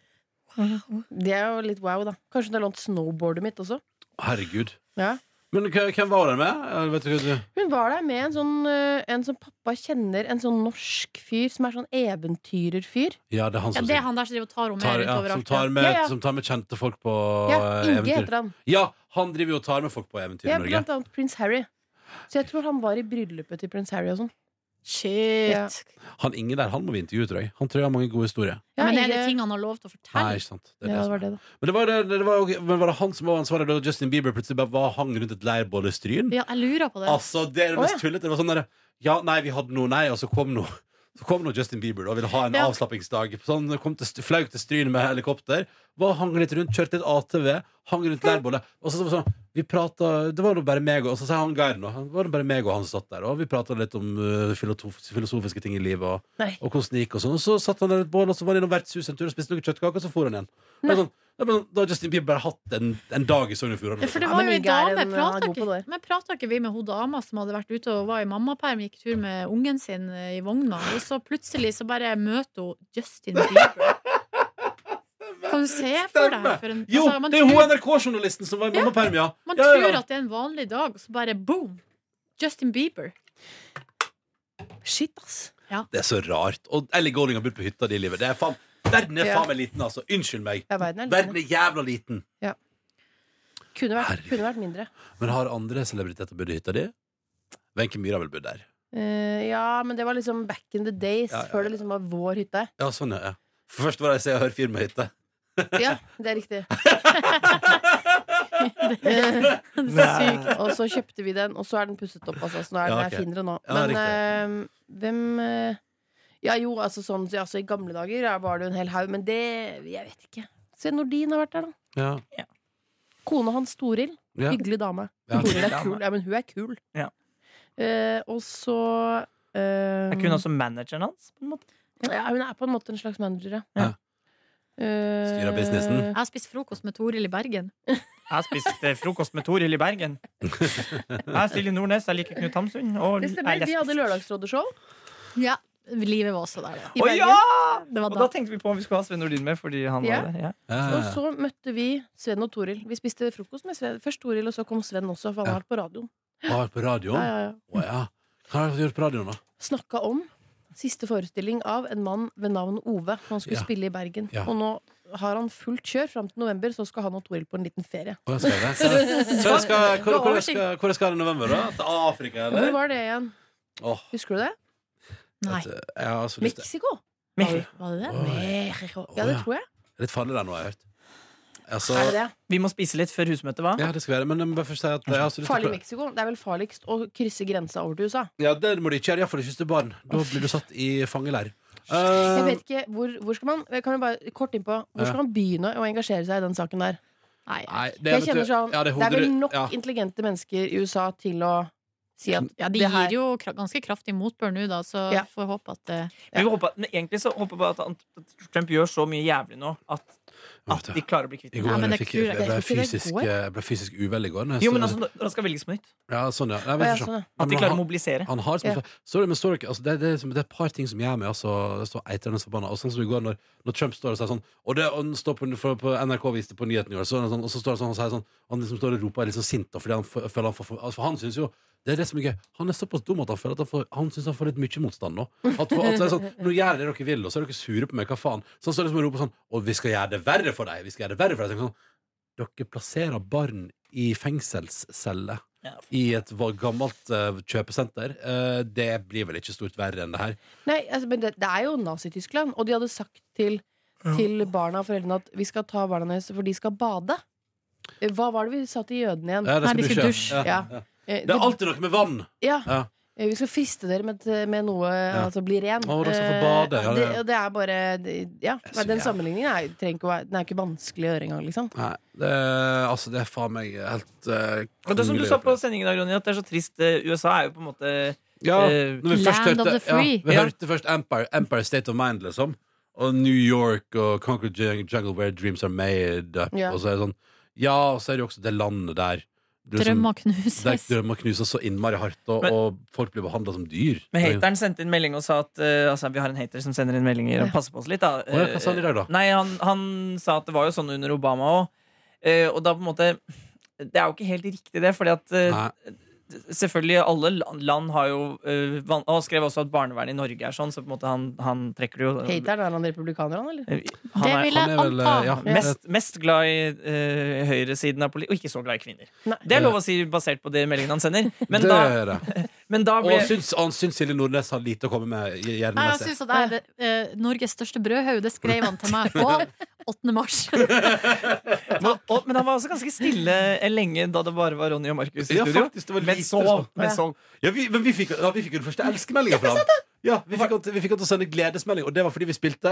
Speaker 1: Mhm. Det er jo litt wow, da. Kanskje hun har lånt snowboardet mitt også.
Speaker 2: Herregud.
Speaker 1: Ja.
Speaker 2: Men k- hvem var hun med? Eller Vet du, hva du...
Speaker 1: Hun var der med en sånn, eh, en som pappa kjenner, en sånn norsk fyr som er sånn eventyrerfyr.
Speaker 2: Ja, det er han
Speaker 4: Ja,
Speaker 2: som,
Speaker 4: det er han der som driver og tar henne
Speaker 2: tar,
Speaker 4: med
Speaker 2: ja,
Speaker 4: utover
Speaker 2: som,
Speaker 4: alt.
Speaker 2: tar med,
Speaker 1: Ja, ja.
Speaker 2: som tar med kjente folk på
Speaker 1: Ja,
Speaker 2: eh,
Speaker 1: Inge
Speaker 2: eventyr.
Speaker 1: heter han.
Speaker 2: Ja, han driver jo og tar med folk på eventyr
Speaker 1: Ja,
Speaker 2: i Norge.
Speaker 1: blant annet prins Harry. Så jeg tror han var i bryllupet til prins Harry og sånn. Ja.
Speaker 4: Shit.
Speaker 2: Han Inge der, han må vi intervjue, tror jeg. Han tror jeg har mange gode historier.
Speaker 1: Ja,
Speaker 4: men er det
Speaker 1: Inge-
Speaker 4: ting han har lov til å
Speaker 2: Nei,
Speaker 4: fortelle?
Speaker 2: ikke sant. Det er det
Speaker 1: Ja, det
Speaker 2: som
Speaker 1: var
Speaker 2: er.
Speaker 1: det, da.
Speaker 2: Men, det var, det, det var, jo- men var det han som var ansvarlig da Justin Bieber plutselig bare var, hang rundt et leirbål i Stryn?
Speaker 4: Ja, jeg lurer på det.
Speaker 2: Altså, det er det
Speaker 1: Å,
Speaker 2: mest
Speaker 1: ja.
Speaker 2: tullete. Det var sånn der, ja, nei, vi hadde noe, nei, og så kom noe. Så kom nå Justin Bieber da, og ville ha en
Speaker 4: Ja.
Speaker 2: avslappingsdag. Så han kom til, flaug til Stryn med helikopter. Var, hang litt rundt, kjørte litt ATV, hang rundt leirbålet. Og så, så, så, vi pratet, Det var nå bare meg og Og så sa han Geir nå. Det var det bare meg og han som satt der. Og vi prata litt om eh, filotof, filosofiske ting i livet og,
Speaker 1: Nei.
Speaker 2: og hvordan det gikk. Og sånn Og så satt han der et bål, og så var han innom vertshuset en tur og spiste noen kjøttkaker, og så for han igjen. Det er
Speaker 1: Nei.
Speaker 2: Sånn, det er bare sånn, da har Justin Bieber bare hatt en, en dag i Sogn og Fjordane.
Speaker 4: Ja, for det
Speaker 1: Ja,
Speaker 4: var
Speaker 1: men
Speaker 4: jo en
Speaker 1: Inge er
Speaker 4: dame
Speaker 1: en- han
Speaker 4: prata
Speaker 1: er god på
Speaker 4: ikke,
Speaker 1: det
Speaker 4: Men prata ikke vi med hun dama som hadde vært ute og var i mammaperm, gikk tur med ungen sin eh, i vogna, og så plutselig så bare møter hun Justin Bieber. Kan du se for deg
Speaker 2: Stemmer.
Speaker 4: for en
Speaker 2: Jo,
Speaker 4: altså, man
Speaker 2: det er jo
Speaker 4: tror-
Speaker 2: hun NRK-journalisten som var i mammaperm, ja.
Speaker 4: Man
Speaker 2: Ja, ja, ja.
Speaker 4: tror at det er en vanlig dag, og så bare boom! Justin Bieber.
Speaker 1: Shit, ass.
Speaker 2: Det er så rart. Og Ellie Golding har bodd på hytta di i livet. Det er faen, verden er
Speaker 1: Ja.
Speaker 2: faen meg liten, altså. Unnskyld meg.
Speaker 1: Ja, verden er liten,
Speaker 2: Verden er jævla liten.
Speaker 1: Kunne vært,
Speaker 2: Herregud.
Speaker 1: kunne vært mindre.
Speaker 2: Men har andre celebriteter bodd i hytta di? Wenche Myhre har vel bodd der.
Speaker 1: Eh, ja, men det var liksom back in the days,
Speaker 2: Ja, ja, ja.
Speaker 1: før det liksom var vår hytte.
Speaker 2: Ja, sånn, ja. ja. For først var det ei Se og Hør-fyr med hytte.
Speaker 1: Ja, det er riktig.
Speaker 3: Nei.
Speaker 1: Og så kjøpte vi den, og så er den pusset opp, altså. Så nå er den
Speaker 2: Ja,
Speaker 1: er
Speaker 2: ok.
Speaker 1: finere nå.
Speaker 2: Ja,
Speaker 1: Men eh, hvem eh, Ja, jo, altså sånn ja, altså, I gamle dager ja, var det jo en hel haug, men det Jeg vet ikke. Se, Nordin har vært der, da.
Speaker 2: Ja.
Speaker 1: Kona hans Toril.
Speaker 2: Ja.
Speaker 1: Hyggelig dame.
Speaker 2: Ja.
Speaker 1: Toril er
Speaker 3: Dame.
Speaker 1: kul. Ja, men hun er kul.
Speaker 3: Ja.
Speaker 1: Eh, og så eh,
Speaker 3: Er ikke hun også manageren hans? på en måte?
Speaker 1: Ja, hun er på en måte en slags manager, ja.
Speaker 2: Ja.
Speaker 1: Eh,
Speaker 2: Styrer businessen.
Speaker 4: Jeg har spist frokost med Toril i Bergen.
Speaker 3: Jeg spiste frokost med Toril i Bergen. Jeg er Silje Nordnes, jeg liker Knut Hamsun. Og
Speaker 1: Det stemmer. Vi hadde lørdagsrådeshow.
Speaker 4: Ja, Livet var også der, da.
Speaker 1: i
Speaker 3: Å
Speaker 1: Bergen.
Speaker 3: ja!
Speaker 4: Det var
Speaker 3: Og
Speaker 4: da.
Speaker 3: da tenkte vi på om vi skulle ha Sven Nordin med, fordi han
Speaker 1: Ja.
Speaker 3: var der. Ja.
Speaker 1: Og så møtte vi Sven og Toril. Vi spiste frokost med Sven. Først Toril, og så kom Sven også, for han
Speaker 2: Ja.
Speaker 1: har vært på radioen.
Speaker 2: Var på radioen?
Speaker 1: Ja,
Speaker 2: Å
Speaker 1: ja, ja.
Speaker 2: ja. Hva har du gjort på radioen, da?
Speaker 1: Snakka om Siste forestilling av en mann ved navn Ove. Han skulle
Speaker 2: Ja.
Speaker 1: spille i Bergen.
Speaker 2: Ja.
Speaker 1: Og nå har han fullt kjør fram til november, så skal han og Toril på en liten ferie.
Speaker 2: Hvordan skal jeg det? Hvor skal, hvor, hvor skal, hvor skal jeg i november, da? Til Afrika,
Speaker 1: Hvor
Speaker 2: eller?
Speaker 1: var det igjen?
Speaker 2: Åh,
Speaker 1: Husker du det?
Speaker 4: Nei.
Speaker 2: vet du, jeg har så lyst til
Speaker 1: Mexico?
Speaker 3: Men
Speaker 4: Var det det?
Speaker 2: Oi,
Speaker 1: Mexico. Ja, det tror jeg.
Speaker 2: det er Litt farlig der nå, har jeg hørt. Altså,
Speaker 1: Er det det?
Speaker 3: Vi må spise litt før husmøtet, hva?
Speaker 2: ja, det skal være, men jeg må bare først si at jeg har så lyst til å
Speaker 1: Farlig
Speaker 2: prøve-
Speaker 1: Mexico. Det er vel farligst å krysse grensa over til USA.
Speaker 2: Ja, det må du ikke gjøre, iallfall ikke hvis du er barn. Da blir du satt i fangeleir.
Speaker 1: Jeg
Speaker 2: Eh,
Speaker 1: vet ikke, hvor, hvor skal man Kan jeg bare kort innpå Hvor skal man begynne å engasjere seg i den saken der?
Speaker 4: Nei.
Speaker 2: nei, det,
Speaker 1: Jeg
Speaker 2: vet
Speaker 1: kjenner
Speaker 2: du-
Speaker 1: sånn,
Speaker 2: ja,
Speaker 1: Det
Speaker 2: hodet
Speaker 1: er vel
Speaker 2: du-
Speaker 1: nok
Speaker 2: ja.
Speaker 1: intelligente mennesker i USA til å si at
Speaker 4: Ja, de
Speaker 1: det her-
Speaker 4: gir jo kra- ganske kraftig motbør nå, da, så
Speaker 1: Ja.
Speaker 4: får håpe at eh, det
Speaker 3: Men vi håper, men egentlig så håper jeg bare at han- at Trump gjør så mye jævlig nå at,
Speaker 2: Vet
Speaker 3: at
Speaker 2: du,
Speaker 3: de klarer å bli kvitt
Speaker 2: Eh, I
Speaker 3: det.
Speaker 2: går
Speaker 4: Nei, men
Speaker 2: jeg
Speaker 4: det
Speaker 2: fikk,
Speaker 4: tror jeg-
Speaker 2: jeg,
Speaker 4: jeg
Speaker 2: ble
Speaker 4: tror ikke det
Speaker 2: fysisk, eh,
Speaker 4: går.
Speaker 2: jeg ble fysisk uvel i går. når jeg
Speaker 3: Jo,
Speaker 2: sto-
Speaker 3: men altså, Det skal velges på nytt.
Speaker 2: ja, sånn, ja. Nei,
Speaker 1: Å,
Speaker 2: vi
Speaker 1: ja,
Speaker 2: får se.
Speaker 1: sånn, ja.
Speaker 2: Ja,
Speaker 3: At de
Speaker 2: men
Speaker 3: klarer å
Speaker 2: han-
Speaker 3: mobilisere.
Speaker 2: Han har
Speaker 1: Ja.
Speaker 2: liksom, sorry, men står dere, altså, det, det, er som, det er et par ting som gjør meg altså, det står eitrende forbanna. Og sånn som i går, når, når Trump står og sier sånn Og det og han står på, for, på NRK viste på nyheten i går, så, er det sånn, og så står han sånn og sier sånn Han liksom står og roper og er litt sånn sint, da, fordi han f- føler han får for, altså, For han synes jo det er det som er gøy. Han er såpass dum at han føler at han, får, han synes han får litt mye motstand nå. At, for- at det er sånn, nå gjør dere det dere vil, og så er dere sure på meg. Hva faen? Så han står liksom og roper sånn Og vi skal gjøre det verre for deg! Vi skal gjøre det verre for deg! Så jeg tenker Sånn, dere plasserer barn i fengselscelle
Speaker 3: Ja.
Speaker 2: i et va- gammelt eh, kjøpesenter. Eh, det blir vel ikke stort verre enn det her.
Speaker 1: Nei, altså, men det, det er jo Nazi-Tyskland, og de hadde sagt til, til barna og foreldrene at vi skal ta barna deres, for de skal bade. Eh, Hva var det vi sa til jødene igjen?
Speaker 2: Ja, det
Speaker 4: Nei, de skal dusje.
Speaker 2: Ja.
Speaker 1: Ja. Eh,
Speaker 2: Det er alltid noe med vann!
Speaker 1: ja.
Speaker 2: Ja.
Speaker 1: Eh, Vi skal friste dere med, med noe, altså bli ren.
Speaker 2: Å, dere skal få
Speaker 1: Eh,
Speaker 2: bade, ja,
Speaker 1: det,
Speaker 2: det-
Speaker 1: og det er bare det- Ja,
Speaker 2: er så
Speaker 1: men den
Speaker 2: jævlig.
Speaker 1: sammenligningen er, jo- trenger ikke å være, den er ikke vanskelig å gjøre engang, liksom.
Speaker 2: Nei, det, er- altså, det er faen meg helt uh,
Speaker 3: Men det er som du sa på sendingen, i dag, Ronny, at det er så trist. eh, USA er jo på en måte
Speaker 2: ja,
Speaker 3: eh,
Speaker 2: når vi først
Speaker 4: Land of
Speaker 2: hørte,
Speaker 4: the free.
Speaker 2: Ja, vi
Speaker 3: Ja.
Speaker 2: hørte først Empire, Empire State of Mind, liksom. Og New York og Conquer Jungle Where Dreams Are Made Up.
Speaker 1: Ja.
Speaker 2: Og så er det sånn Ja, og så er det jo også det landet der. Det er sånn-
Speaker 4: drømmer
Speaker 2: der
Speaker 4: knuses.
Speaker 2: drømmer knuses så innmari hardt, og,
Speaker 3: Men-
Speaker 2: og folk blir behandla som dyr.
Speaker 3: Men hateren sendte inn melding og sa at eh, altså, vi har en hater som sender inn meldinger og
Speaker 1: Ja.
Speaker 3: passer på oss litt. Da. Eh,
Speaker 2: Å, ja, hva sa han i dag, da?
Speaker 3: Nei, han, han sa at det var jo sånn under Obama òg. og da på en måte Det er jo ikke helt riktig, det. Fordi at eh,
Speaker 2: Nei.
Speaker 3: selvfølgelig alle land, land har jo eh, van- Og han skrev også at barnevernet i Norge er sånn, så på en måte han, han trekker det jo
Speaker 1: Hateren, er han republikaner, han, eller?
Speaker 3: Eh,
Speaker 4: Det
Speaker 3: Han er
Speaker 4: vil jeg
Speaker 2: han er vel,
Speaker 4: anta.
Speaker 2: eh, ja.
Speaker 3: mest, mest glad i eh, høyresiden av politikk, og ikke så glad i kvinner.
Speaker 1: Nei.
Speaker 3: Det er lov å si basert på de meldingene han sender. Men
Speaker 2: det
Speaker 3: da,
Speaker 2: er det.
Speaker 3: men da
Speaker 2: Og
Speaker 3: ble
Speaker 2: han syns, han syns Silje Nordnes har lite å komme med. i- Gjerne
Speaker 4: Nei, han
Speaker 2: neste.
Speaker 4: syns at jeg er det, eh, Norges største brødhaug. Det skrev han til meg på 8. mars.
Speaker 3: Men, og, men han var også ganske stille eh, lenge da det bare var Ronny og Markus i
Speaker 2: Ja,
Speaker 3: studio.
Speaker 2: faktisk, det var
Speaker 3: men
Speaker 2: lite
Speaker 3: så,
Speaker 2: respons.
Speaker 3: men så
Speaker 2: ja, vi, men vi fikk, ja, vi fikk jo den første elskemeldinga fra ham. Ja, vi fikk, han til- vi fikk han til å sende gledesmelding, og det var fordi vi spilte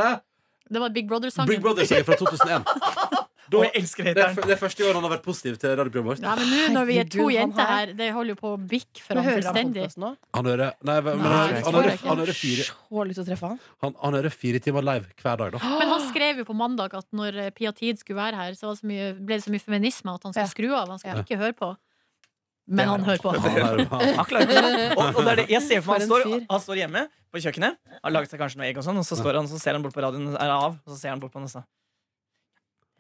Speaker 4: Det var Big
Speaker 2: Big
Speaker 4: Brother-sangen.
Speaker 2: Brother-sangen fra 2001. Da,
Speaker 3: Og jeg
Speaker 2: det,
Speaker 3: elsker
Speaker 2: er,
Speaker 3: hateren.
Speaker 2: fyr- det er første gang han har vært positiv til radioprogrammet vårt.
Speaker 4: Nei, men nå når vi er to
Speaker 1: Herregud, han
Speaker 4: jenter
Speaker 1: her.
Speaker 4: her, det holder jo på å bikke for
Speaker 1: Men
Speaker 4: han
Speaker 1: hører han
Speaker 4: fullstendig.
Speaker 1: podcasten nå?
Speaker 2: Han hører Nei, men,
Speaker 4: Nei,
Speaker 2: han,
Speaker 4: det
Speaker 2: han,
Speaker 4: tror
Speaker 2: hører,
Speaker 4: jeg ikke.
Speaker 2: han, hører fire,
Speaker 1: Så lyst til å treffe han.
Speaker 2: han, han hører fire timer live hver dag, da.
Speaker 4: Men
Speaker 1: Ah.
Speaker 4: han skrev jo på mandag at når eh, Pia Tid skulle være her, så var det så mye, ble det så mye feminisme at
Speaker 1: Ja.
Speaker 4: han skulle skru av. Han skulle
Speaker 1: Ja.
Speaker 4: ikke høre på. Men han hører på.
Speaker 2: Han hører, han,
Speaker 3: Han klarer det. Og, og det er det. Jeg ser for meg han
Speaker 1: For en
Speaker 3: står,
Speaker 1: fyr.
Speaker 3: han står hjemme på kjøkkenet, har laget seg kanskje noe egg, og sånn Og så står han, så ser han bort på radioen, er av, og så ser han bort på den og så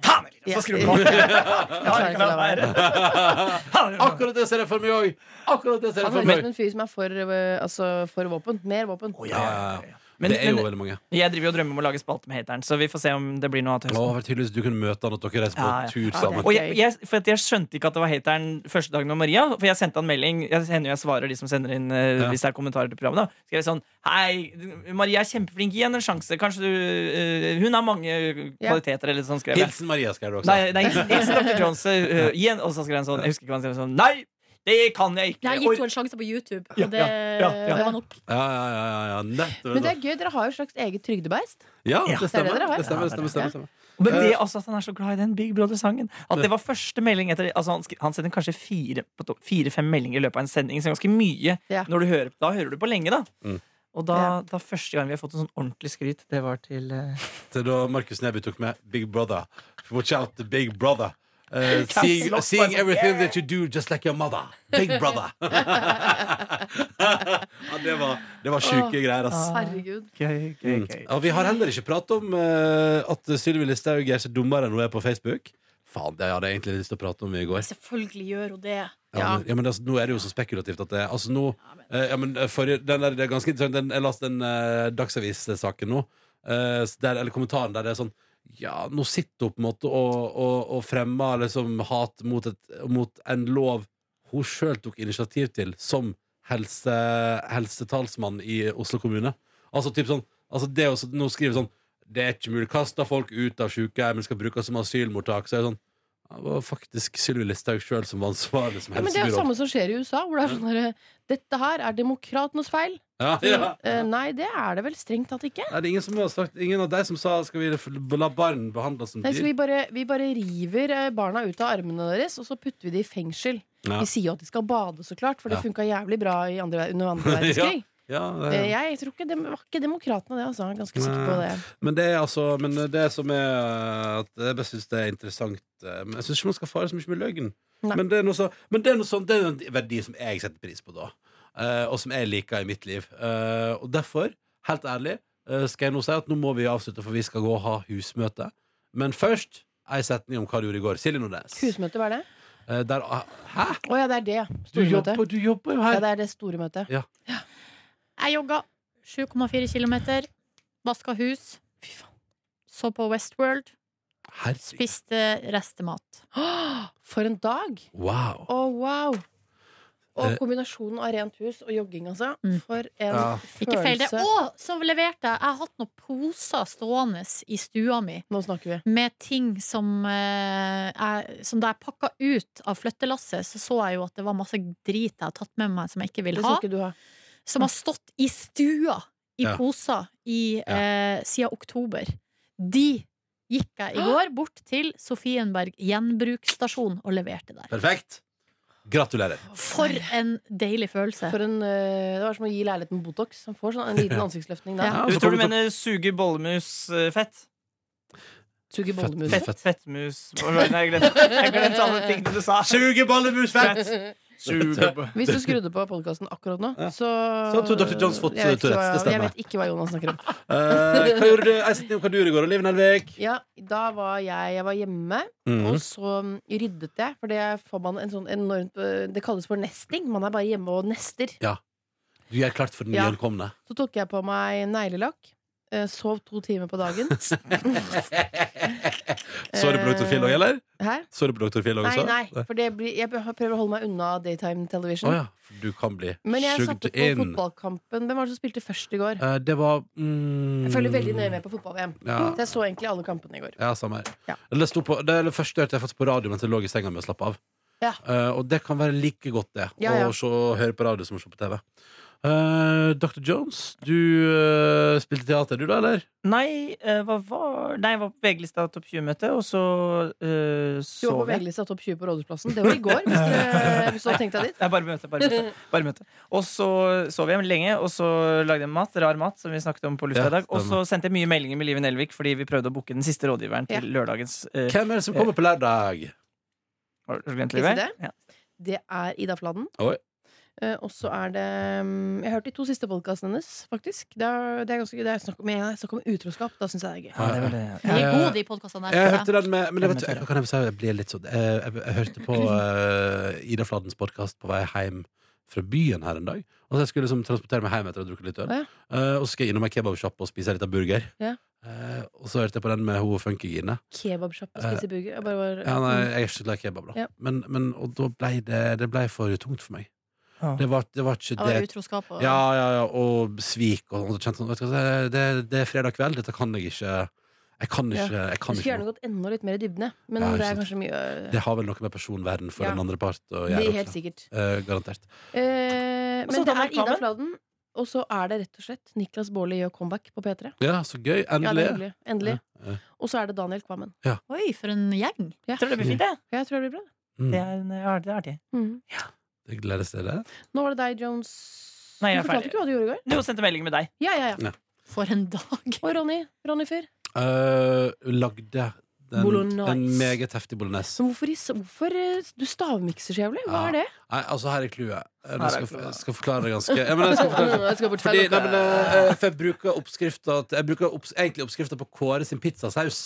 Speaker 3: Faen, Elias, så skrur du på! Ja, det kan være. Faen, det kan være.
Speaker 2: akkurat det ser jeg for meg òg! Akkurat det ser jeg
Speaker 1: Han
Speaker 2: for
Speaker 1: høres ut
Speaker 2: meg
Speaker 1: som en fyr som er for, eh, altså, for våpen. Mer våpen.
Speaker 2: Ja, ja, ja.
Speaker 3: Men,
Speaker 2: Det er jo
Speaker 3: men
Speaker 2: veldig mange.
Speaker 3: jeg driver jo og drømmer om å lage spalte med hateren, så vi får se om det blir noe av til
Speaker 2: Å,
Speaker 3: høsten.
Speaker 2: det var tydelig at du kunne møte han, at dere reiser på
Speaker 3: Ja, ja.
Speaker 2: tur
Speaker 1: Ja,
Speaker 2: sammen.
Speaker 1: det-
Speaker 3: Og jeg, jeg, for at jeg skjønte ikke at det var hateren første dagen med Maria. For jeg sendte han melding. Jeg hender jo jeg svarer de som sender inn eh,
Speaker 2: Ja.
Speaker 3: hvis det er kommentarer til programmet. Da. Skrev jeg sånn Hei, Maria er kjempeflink. Gi henne en sjanse. Kanskje du eh, Hun har mange
Speaker 1: Ja.
Speaker 3: kvaliteter, eller sånn, skrev jeg.
Speaker 2: Hilsen Maria skrev du også.
Speaker 3: Nei, nei, hilsen Dr. Jones. eh, gi henne- og så skrev han sånn Jeg husker ikke hva han skrev. Sånn Nei, det kan jeg ikke.
Speaker 4: Jeg har
Speaker 3: Og-
Speaker 4: gitt henne en sjanse på YouTube,
Speaker 3: Ja,
Speaker 4: og det,
Speaker 3: ja, ja, ja.
Speaker 4: det var nok.
Speaker 2: Ja, ja, ja, ja, ja. Nettopp.
Speaker 1: Men det er gøy, dere har jo et slags eget trygdebeist.
Speaker 2: ja,
Speaker 3: Ja,
Speaker 2: det stemmer.
Speaker 1: det dere har.
Speaker 2: Det stemmer,
Speaker 3: Ja,
Speaker 2: det stemmer,
Speaker 1: det er det.
Speaker 2: stemmer, stemmer.
Speaker 3: Men det
Speaker 2: Eh.
Speaker 3: også at han er så glad i den Big Brother-sangen. At det var første melding etter altså Han, skri- han sender kanskje fire-fem meldinger i løpet av en sending, så ganske mye.
Speaker 1: Ja.
Speaker 3: Når du hører, da hører du på lenge, da.
Speaker 2: Mm.
Speaker 3: Og da,
Speaker 1: Ja.
Speaker 3: da første gang vi har fått en sånn ordentlig skryt, det var til eh,
Speaker 2: Til da Markus Neby tok med Big Brother. Watch out, the Big Brother. Eh,
Speaker 3: Caps
Speaker 2: seeing,
Speaker 3: lock,
Speaker 2: seeing
Speaker 3: altså.
Speaker 2: everything that you do just like your mother. Big brother. ja, det var, det var sjuke greier, ass.
Speaker 1: Herregud.
Speaker 3: Gøy, gøy,
Speaker 2: Mm.
Speaker 3: gøy.
Speaker 2: Ja, vi har heller ikke pratet om eh, at Sylvi Listhaug er så dummere enn hun er på Facebook. Faen, det hadde jeg egentlig lyst til å prate om i går.
Speaker 4: Selvfølgelig gjør hun det.
Speaker 2: Ja, men, ja, men det, altså, nå er det jo så spekulativt at det Altså nå eh, ja, men, eh, forrige- den der, Det er ganske interessant. Den, jeg leste den eh, Dagsavis-saken nå, eh, s- der, eller kommentaren der det er sånn Ja, nå sitter hun på en måte og, og, og fremmer liksom hat mot, et, mot en lov hun sjøl tok initiativ til som helse, helsetalsmann i Oslo kommune. Altså typ sånn altså, det å så- Nå skriver sånn Det er ikke mulig. Kaster folk ut av sykehjem, men skal brukes som asylmottak. Så er det sånn ja, det var faktisk Sylvi Listhaug sjøl som var ansvarlig som
Speaker 1: Ja, men det er jo
Speaker 2: helsebyråd.
Speaker 1: samme som skjer i USA, hvor det er sånn derre Dette her er demokratenes feil.
Speaker 2: Ja, ja.
Speaker 1: Eh, nei, det er det vel strengt tatt ikke.
Speaker 2: Nei, det er ingen som har sagt Ingen av deg som sa Skal vi f- la barn behandles som
Speaker 1: Nei, så vi
Speaker 2: dyr?
Speaker 1: bare, vi bare river eh, barna ut av armene deres, og så putter vi de i fengsel.
Speaker 2: Ja.
Speaker 1: Vi sier jo at de skal bade, så klart, for det
Speaker 2: Ja.
Speaker 1: funka jævlig bra i andre, ver- under andre verdenskrig.
Speaker 2: Ja, det
Speaker 1: Eh,
Speaker 2: er,
Speaker 1: Jeg tror ikke, det var ikke demokratene det, altså. Jeg er ganske sikker på det.
Speaker 2: men det er altså Men det som er at Jeg bare syns det er interessant eh, Men jeg syns ikke man skal fare så mye med løgn.
Speaker 1: Nei.
Speaker 2: Men det er noe så, men det er noe sånn Det er en verdi som jeg setter pris på, da. eh, og som jeg liker i mitt liv. Eh, og derfor, helt ærlig, eh, skal jeg nå si at nå må vi avslutte, for vi skal gå og ha husmøte. Men først ei setning om hva du gjorde i går. Silje Nordnes.
Speaker 1: Husmøte, hva er det?
Speaker 2: Eh, der, hæ?
Speaker 1: Å ja, det er det.
Speaker 2: Du
Speaker 1: Stormøte.
Speaker 2: jobber, du jobber jo
Speaker 1: Ja,
Speaker 2: her.
Speaker 1: det er det store møtet.
Speaker 4: Jeg jogga 7,4 km, vaska hus,
Speaker 1: Fy faen.
Speaker 4: så på Westworld,
Speaker 2: Herregud.
Speaker 4: spiste restemat.
Speaker 1: Åh, For en dag!
Speaker 2: Wow.
Speaker 1: Å, wow!
Speaker 2: Eh.
Speaker 1: Og kombinasjonen av rent hus og jogging, altså.
Speaker 4: Mm.
Speaker 1: For en
Speaker 2: Ja.
Speaker 4: Ikke feil det.
Speaker 1: følelse.
Speaker 4: Og så leverte jeg Jeg har hatt noen poser stående i stua mi
Speaker 1: Nå snakker vi.
Speaker 4: med ting som, eh, jeg, som da jeg pakka ut av flyttelasset, så så jeg jo at det var masse drit jeg har tatt med meg som jeg ikke
Speaker 1: Det
Speaker 4: vil ha.
Speaker 1: skal ikke du ha.
Speaker 4: Som har stått i stua i
Speaker 2: Ja.
Speaker 4: poser i,
Speaker 2: Ja.
Speaker 4: eh, siden oktober. De gikk jeg i går bort til Sofienberg gjenbruksstasjon og leverte der.
Speaker 2: Perfekt. Gratulerer.
Speaker 4: For en deilig følelse.
Speaker 1: For en, eh, det var som å gi leiligheten Botox. Han får sånn en liten ansiktsløftning da.
Speaker 4: Ja.
Speaker 2: Ja,
Speaker 3: Du
Speaker 2: så
Speaker 3: tror du
Speaker 2: kommer
Speaker 3: mener suge bollemusfett?
Speaker 1: Suger bollemus.
Speaker 2: Fett.
Speaker 3: Fett, fettmus Nei, jeg glemte, jeg glemte alle tingene du sa.
Speaker 2: Suge bollemusfett!
Speaker 3: Suge bo-
Speaker 1: Hvis du skrudde på podkasten akkurat nå,
Speaker 2: Ja.
Speaker 1: så
Speaker 2: Så tror Dr. Jones fått
Speaker 1: Jeg vet
Speaker 2: Tourettes, det
Speaker 1: ikke hva-
Speaker 2: stemmer.
Speaker 1: Jeg vet ikke hva Jonas snakker om.
Speaker 2: Eh, hva gjorde du? Jeg sitter hva du gjorde i går, Liv Nelvik.
Speaker 1: Ja, da var jeg Jeg var hjemme, og så mm, ryddet jeg. For det får man en sånn enormt eh, Det kalles for nesting. Man er bare hjemme og nester.
Speaker 2: Du er klart for den
Speaker 1: Ja.
Speaker 2: nyankomne.
Speaker 1: Så tok jeg på meg neglelakk. eh, Sov to timer på dagen.
Speaker 2: Så du på Dr. Phil òg, eller?
Speaker 1: Hæ?
Speaker 2: Så du på Dr. Phil òg
Speaker 1: Nei,
Speaker 2: også?
Speaker 1: nei. For det blir, jeg prøver å holde meg unna daytime television.
Speaker 2: Å ja, for du kan bli
Speaker 1: Men jeg
Speaker 2: sugd
Speaker 1: satte på
Speaker 2: inn.
Speaker 1: fotballkampen. Hvem var det som spilte først i går?
Speaker 2: Eh, det var mm,
Speaker 1: Jeg følger veldig nøye med på fotball-VM.
Speaker 2: Ja.
Speaker 1: Så jeg så egentlig alle kampene i går.
Speaker 2: Ja, samme her.
Speaker 1: Ja.
Speaker 2: Eller sto på, det, er det første hørte jeg faktisk på radio mens jeg lå i senga med å slappe av.
Speaker 1: Ja.
Speaker 2: Eh, og det kan være like godt, det.
Speaker 1: Ja, ja.
Speaker 2: Å se, høre på radio som å se på TV. Eh, Dr. Jones, du eh, spilte teater, du da, eller?
Speaker 3: Nei, eh, hva var Nei, jeg var på VG-lista topp 20-møte, og så uh,
Speaker 1: Du var på
Speaker 3: sov jeg.
Speaker 1: VG-lista topp 20 på Rådhusplassen. Det var i går, hvis, dere, hvis du hadde tenkt deg dit.
Speaker 3: Nei, bare møte, bare møte. Bare møte. Og så sov jeg lenge, og så lagde jeg mat, rar mat, som vi snakket om på lufta
Speaker 2: Ja,
Speaker 3: i dag. Og
Speaker 2: stemmer.
Speaker 3: så sendte jeg mye meldinger med Live Nelvik fordi vi prøvde å booke den siste rådgiveren til lørdagens eh,
Speaker 2: Hvem er det som kommer på lørdag?
Speaker 3: Har du glemt
Speaker 1: Visste
Speaker 3: Live?
Speaker 1: det?
Speaker 3: Ja.
Speaker 1: Det er Ida Fladen.
Speaker 2: Oi.
Speaker 1: Eh, og så er det mm, Jeg har hørt de to siste podkastene hennes, faktisk. Det er, det er ganske gøy. Det er snakk om, men jeg snakker om utroskap. Da syns jeg det er gøy.
Speaker 3: Ja, det var det.
Speaker 4: De er gode, de podkastene
Speaker 2: Eh, Jeg
Speaker 4: der.
Speaker 2: hørte den med Men jeg vet,
Speaker 3: Hvem er det?
Speaker 2: jeg, kan jeg, si, jeg blir litt sånn eh, jeg, jeg hørte på eh, Ida Fladens podkast på vei hjem fra byen her en dag. Og så jeg skulle liksom transportere meg hjem etter å ha drukket litt øl.
Speaker 1: Å, ja.
Speaker 2: Eh, og så skal jeg innom ei kebabsjappe og spise litt av burger.
Speaker 1: Ja.
Speaker 2: Eh, og så hørte jeg på den med hun funkygine.
Speaker 1: Kebabsjappe og spise burger. Jeg bare var,
Speaker 2: Eh, Ja, nei, jeg er ikke så glad i kebab, da.
Speaker 1: Mm. Ja.
Speaker 2: Men, men og da ble det, det ble for tungt for meg.
Speaker 3: Ja.
Speaker 2: Det, var, det var ikke
Speaker 4: Det var
Speaker 2: det
Speaker 4: utroskap og
Speaker 2: Ja, ja, ja, og svik og sånn. og kjente sånn, vet du hva, det, det, det er fredag kveld, dette kan jeg ikke Jeg kan
Speaker 1: Ja.
Speaker 2: ikke, jeg
Speaker 1: jeg
Speaker 2: kan
Speaker 1: skulle
Speaker 2: ikke
Speaker 1: gjerne
Speaker 2: noe.
Speaker 1: gått enda litt mer i dybden, jeg. men
Speaker 2: Ja,
Speaker 1: det
Speaker 2: ikke
Speaker 1: er
Speaker 2: sant.
Speaker 1: kanskje mye øh,
Speaker 2: Det har vel noe med personverden for
Speaker 1: Ja.
Speaker 2: den andre part å
Speaker 1: Det
Speaker 2: gjøre.
Speaker 1: er helt
Speaker 2: også.
Speaker 1: sikkert.
Speaker 2: Eh, garantert.
Speaker 1: Eh,
Speaker 3: så
Speaker 1: men det
Speaker 3: Danmark
Speaker 1: er Ida
Speaker 3: Kamen.
Speaker 1: Fladen, og så er det rett og slett Niklas Baarli gjør comeback på P3.
Speaker 2: Ja, så gøy.
Speaker 1: Ja, det
Speaker 2: Endelig.
Speaker 1: er hyggelig. Endelig.
Speaker 2: Ja, ja.
Speaker 1: Og så er det Daniel Kvammen.
Speaker 4: Oi, for en gjeng!
Speaker 3: Jeg tror det blir fint, jeg.
Speaker 1: Jeg tror det blir bra.
Speaker 2: mm.
Speaker 3: Det er, eh, det er det er artig.
Speaker 1: Mhm.
Speaker 2: det gledes til det.
Speaker 1: Nå var det deg, Jones.
Speaker 3: Nei, jeg er
Speaker 1: du fortalte
Speaker 3: ferdig.
Speaker 1: ikke hva du gjorde i går.
Speaker 3: Du sendte melding med deg.
Speaker 1: Ja, ja, ja.
Speaker 4: For en dag!
Speaker 1: Og Ronny. Ronny Fyr.
Speaker 2: Eh, lagde den,
Speaker 1: Bolognese.
Speaker 2: en meget heftig bolognese.
Speaker 1: Så hvorfor, i s- hvorfor eh, Du stavmikser så jævlig. Hva
Speaker 2: Ja.
Speaker 1: er det?
Speaker 2: Nei, altså, her er clouet. Eh,
Speaker 3: Her
Speaker 2: Nå
Speaker 3: er
Speaker 2: skal,
Speaker 3: clouet.
Speaker 2: jeg skal forklare det ganske ja, men jeg skal forklare det.
Speaker 1: Jeg skal bort fra
Speaker 2: Fordi,
Speaker 1: dette.
Speaker 2: nei, men, eh, eh, for jeg bruker oppskrifta til- Jeg bruker opps, egentlig oppskrifta på Kåre sin pizzasaus.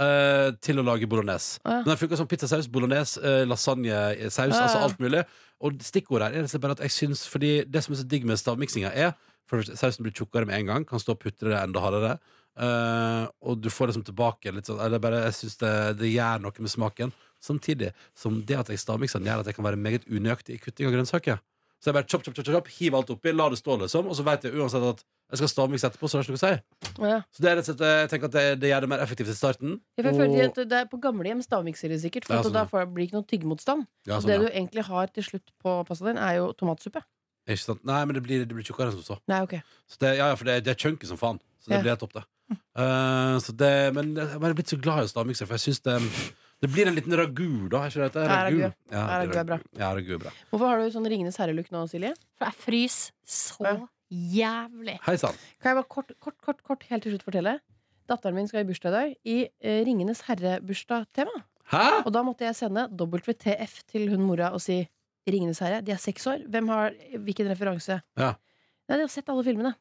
Speaker 2: eh, til å lage bolognese.
Speaker 1: Å, ja.
Speaker 2: Den funker som pizzasaus, bolognese, eh, lasagnesaus,
Speaker 1: Ja, ja.
Speaker 2: altså alt mulig. Og stikkordet her er rett og slett bare at jeg syns Fordi det som er så digg med stavmiksinga, er for det første, sausen blir tjukkere med en gang, kan stå og putre det enda hardere. eh, og du får liksom tilbake litt sånn eller bare, Jeg syns det, det gjør noe med smaken. Samtidig som det at jeg stavmikser den, gjør at jeg kan være meget unøyaktig i kutting av grønnsaker. Så jeg bare chop, chop, chop, chop, hiv alt oppi, la det stå, liksom, og så vet jeg uansett at jeg skal stavmikse etterpå, så det har ikke noe å si.
Speaker 1: Ja.
Speaker 2: Så det er rett og slett, eh, jeg tenker at det, det gjør det mer effektivt i starten.
Speaker 1: Ja, for jeg føler at det er På gamlehjem stavmikser de sikkert, for
Speaker 2: Ja,
Speaker 1: at
Speaker 2: sånn,
Speaker 1: da
Speaker 2: ja.
Speaker 1: får- blir det ikke noe tyggemotstand.
Speaker 2: Ja,
Speaker 1: Så
Speaker 2: sånn,
Speaker 1: det du
Speaker 2: ja.
Speaker 1: egentlig har til slutt på pasta din, er jo tomatsuppe.
Speaker 2: Ikke sant? Nei, men det blir, det blir tjukkere enn som så.
Speaker 1: Nei, ok.
Speaker 2: så det, ja, ja, for det, det er chunky som faen. Så det
Speaker 1: Ja.
Speaker 2: blir helt topp, det. Eh, så det. Men jeg har bare blitt så glad i stavmikser, for jeg syns det Det blir en liten ragu, da. Er ikke det det?
Speaker 1: Ja, ragu.
Speaker 2: Ja,
Speaker 1: Ja,
Speaker 2: det
Speaker 1: ragu er bra.
Speaker 2: Ja, ragu er bra.
Speaker 1: Hvorfor har du sånn Ringenes herre-look nå, Silje?
Speaker 4: For jeg fryser så jævlig.
Speaker 2: Hei sann.
Speaker 1: Kan jeg bare kort, kort, kort, kort helt til slutt fortelle? Datteren min skal i bursdag i dag, i eh, Ringenes herre-bursdag-tema.
Speaker 2: Hæ?!
Speaker 1: Og da måtte jeg sende WTF til hun mora og si Ringenes herre, de er seks år. Hvem har hvilken referanse?
Speaker 2: Ja.
Speaker 1: Nei, de har sett alle filmene.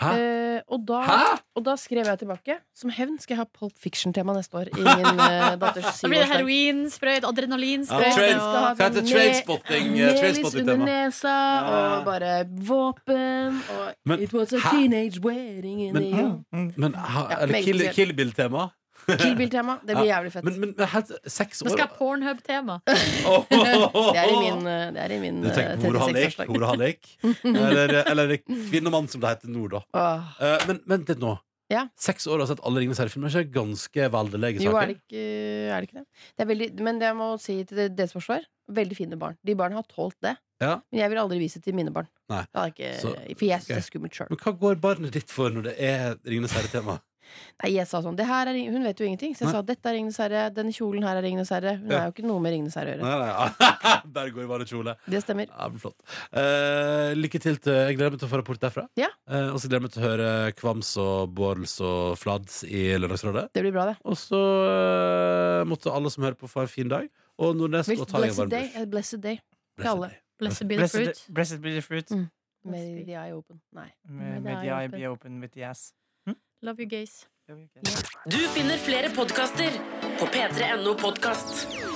Speaker 2: Hæ?
Speaker 1: Eh, og, da,
Speaker 2: Hæ?!
Speaker 1: og da skrev jeg tilbake. Som hevn skal jeg ha Pulp Fiction-tema neste år. I min eh, datters
Speaker 4: Da blir det
Speaker 1: syvårsdag.
Speaker 4: heroinsprøyt,
Speaker 2: Ja,
Speaker 4: adrenalinsprøyt
Speaker 2: train-
Speaker 4: og
Speaker 2: Hva heter
Speaker 1: sånn
Speaker 2: trainspotting? eh,
Speaker 1: Melis under
Speaker 2: Trainspotting-tema.
Speaker 1: nesa og bare våpen og
Speaker 2: Men-
Speaker 1: It was a
Speaker 2: hæ?
Speaker 1: teenage wedding in
Speaker 2: Men-
Speaker 1: the
Speaker 3: Mm, mm.
Speaker 2: Men ha,
Speaker 1: Ja,
Speaker 2: er det
Speaker 1: meget
Speaker 2: Kill,
Speaker 1: spesielt.
Speaker 2: kill Bill-tema?
Speaker 1: Kill Bill-tema. Det blir jævlig fett.
Speaker 2: Men, men, men helt seks
Speaker 4: Nå
Speaker 2: år
Speaker 4: skal jeg ha pornhub-tema.
Speaker 1: Det er i min, eh, det er i min
Speaker 2: Du
Speaker 1: eh,
Speaker 2: tenker på hvor han gikk?
Speaker 1: 36-årsdag.
Speaker 2: Hvor han gikk. Eller, eller kvinne og mann, som det heter nå, da.
Speaker 1: Åh.
Speaker 2: Eh, men vent litt nå.
Speaker 1: Ja.
Speaker 2: Seks år og har sett alle Ringenes herre-filmer. Er ikke det ganske veldelege
Speaker 1: Jo, er
Speaker 2: saker?
Speaker 1: det ikke, er det, ikke det? det er veldig, Men det jeg må si til det- deres forsvar, veldig fine barn. De barna har tålt det.
Speaker 2: Ja.
Speaker 1: Men jeg vil aldri vise det til mine barn.
Speaker 2: Nei.
Speaker 1: Det hadde jeg ikke,
Speaker 2: Så-
Speaker 1: for jeg syns
Speaker 2: ok.
Speaker 1: det er skummelt sjøl.
Speaker 2: Men hva går barnet ditt for når det er Ringenes herre-tema?
Speaker 1: Nei, jeg sa sånn, det her er, Ring- Hun vet jo ingenting, så
Speaker 2: Nei.
Speaker 1: jeg sa dette er Ringenes herre, denne kjolen her er Ringenes herre. Hun
Speaker 2: Ja.
Speaker 1: har jo ikke noe med Ringenes herre å gjøre.
Speaker 2: Nei, nei, Bare går i varekjole.
Speaker 1: Det stemmer.
Speaker 2: Ja, men flott. Eh, lykke til. til Jeg gleder meg til å få rapport derfra.
Speaker 1: Ja.
Speaker 2: Eh, og så gleder jeg meg til å høre Kvams og Bårds og Flads i Lørdagsrådet.
Speaker 1: Det blir bra, det.
Speaker 2: Og så eh, måtte alle som hører på, få en fin dag. Og Nordnes
Speaker 1: Vel,
Speaker 2: og ta deg en
Speaker 1: Blessed
Speaker 2: varm
Speaker 1: day.
Speaker 2: dusj.
Speaker 1: A blessed day. til
Speaker 2: Blessed
Speaker 1: alle.
Speaker 2: day.
Speaker 4: Blessed be the fruit.
Speaker 3: Blessed, blessed be the fruit.
Speaker 1: Mm.
Speaker 4: Blessed
Speaker 1: May
Speaker 4: be.
Speaker 1: the eye open. Nei.
Speaker 3: May
Speaker 4: Med
Speaker 3: may
Speaker 4: the
Speaker 3: the
Speaker 4: eye
Speaker 3: eye be open with the ass.
Speaker 4: Love you, gays.
Speaker 3: Det var jo ikke-
Speaker 5: Du finner flere podkaster på p3.no podkast.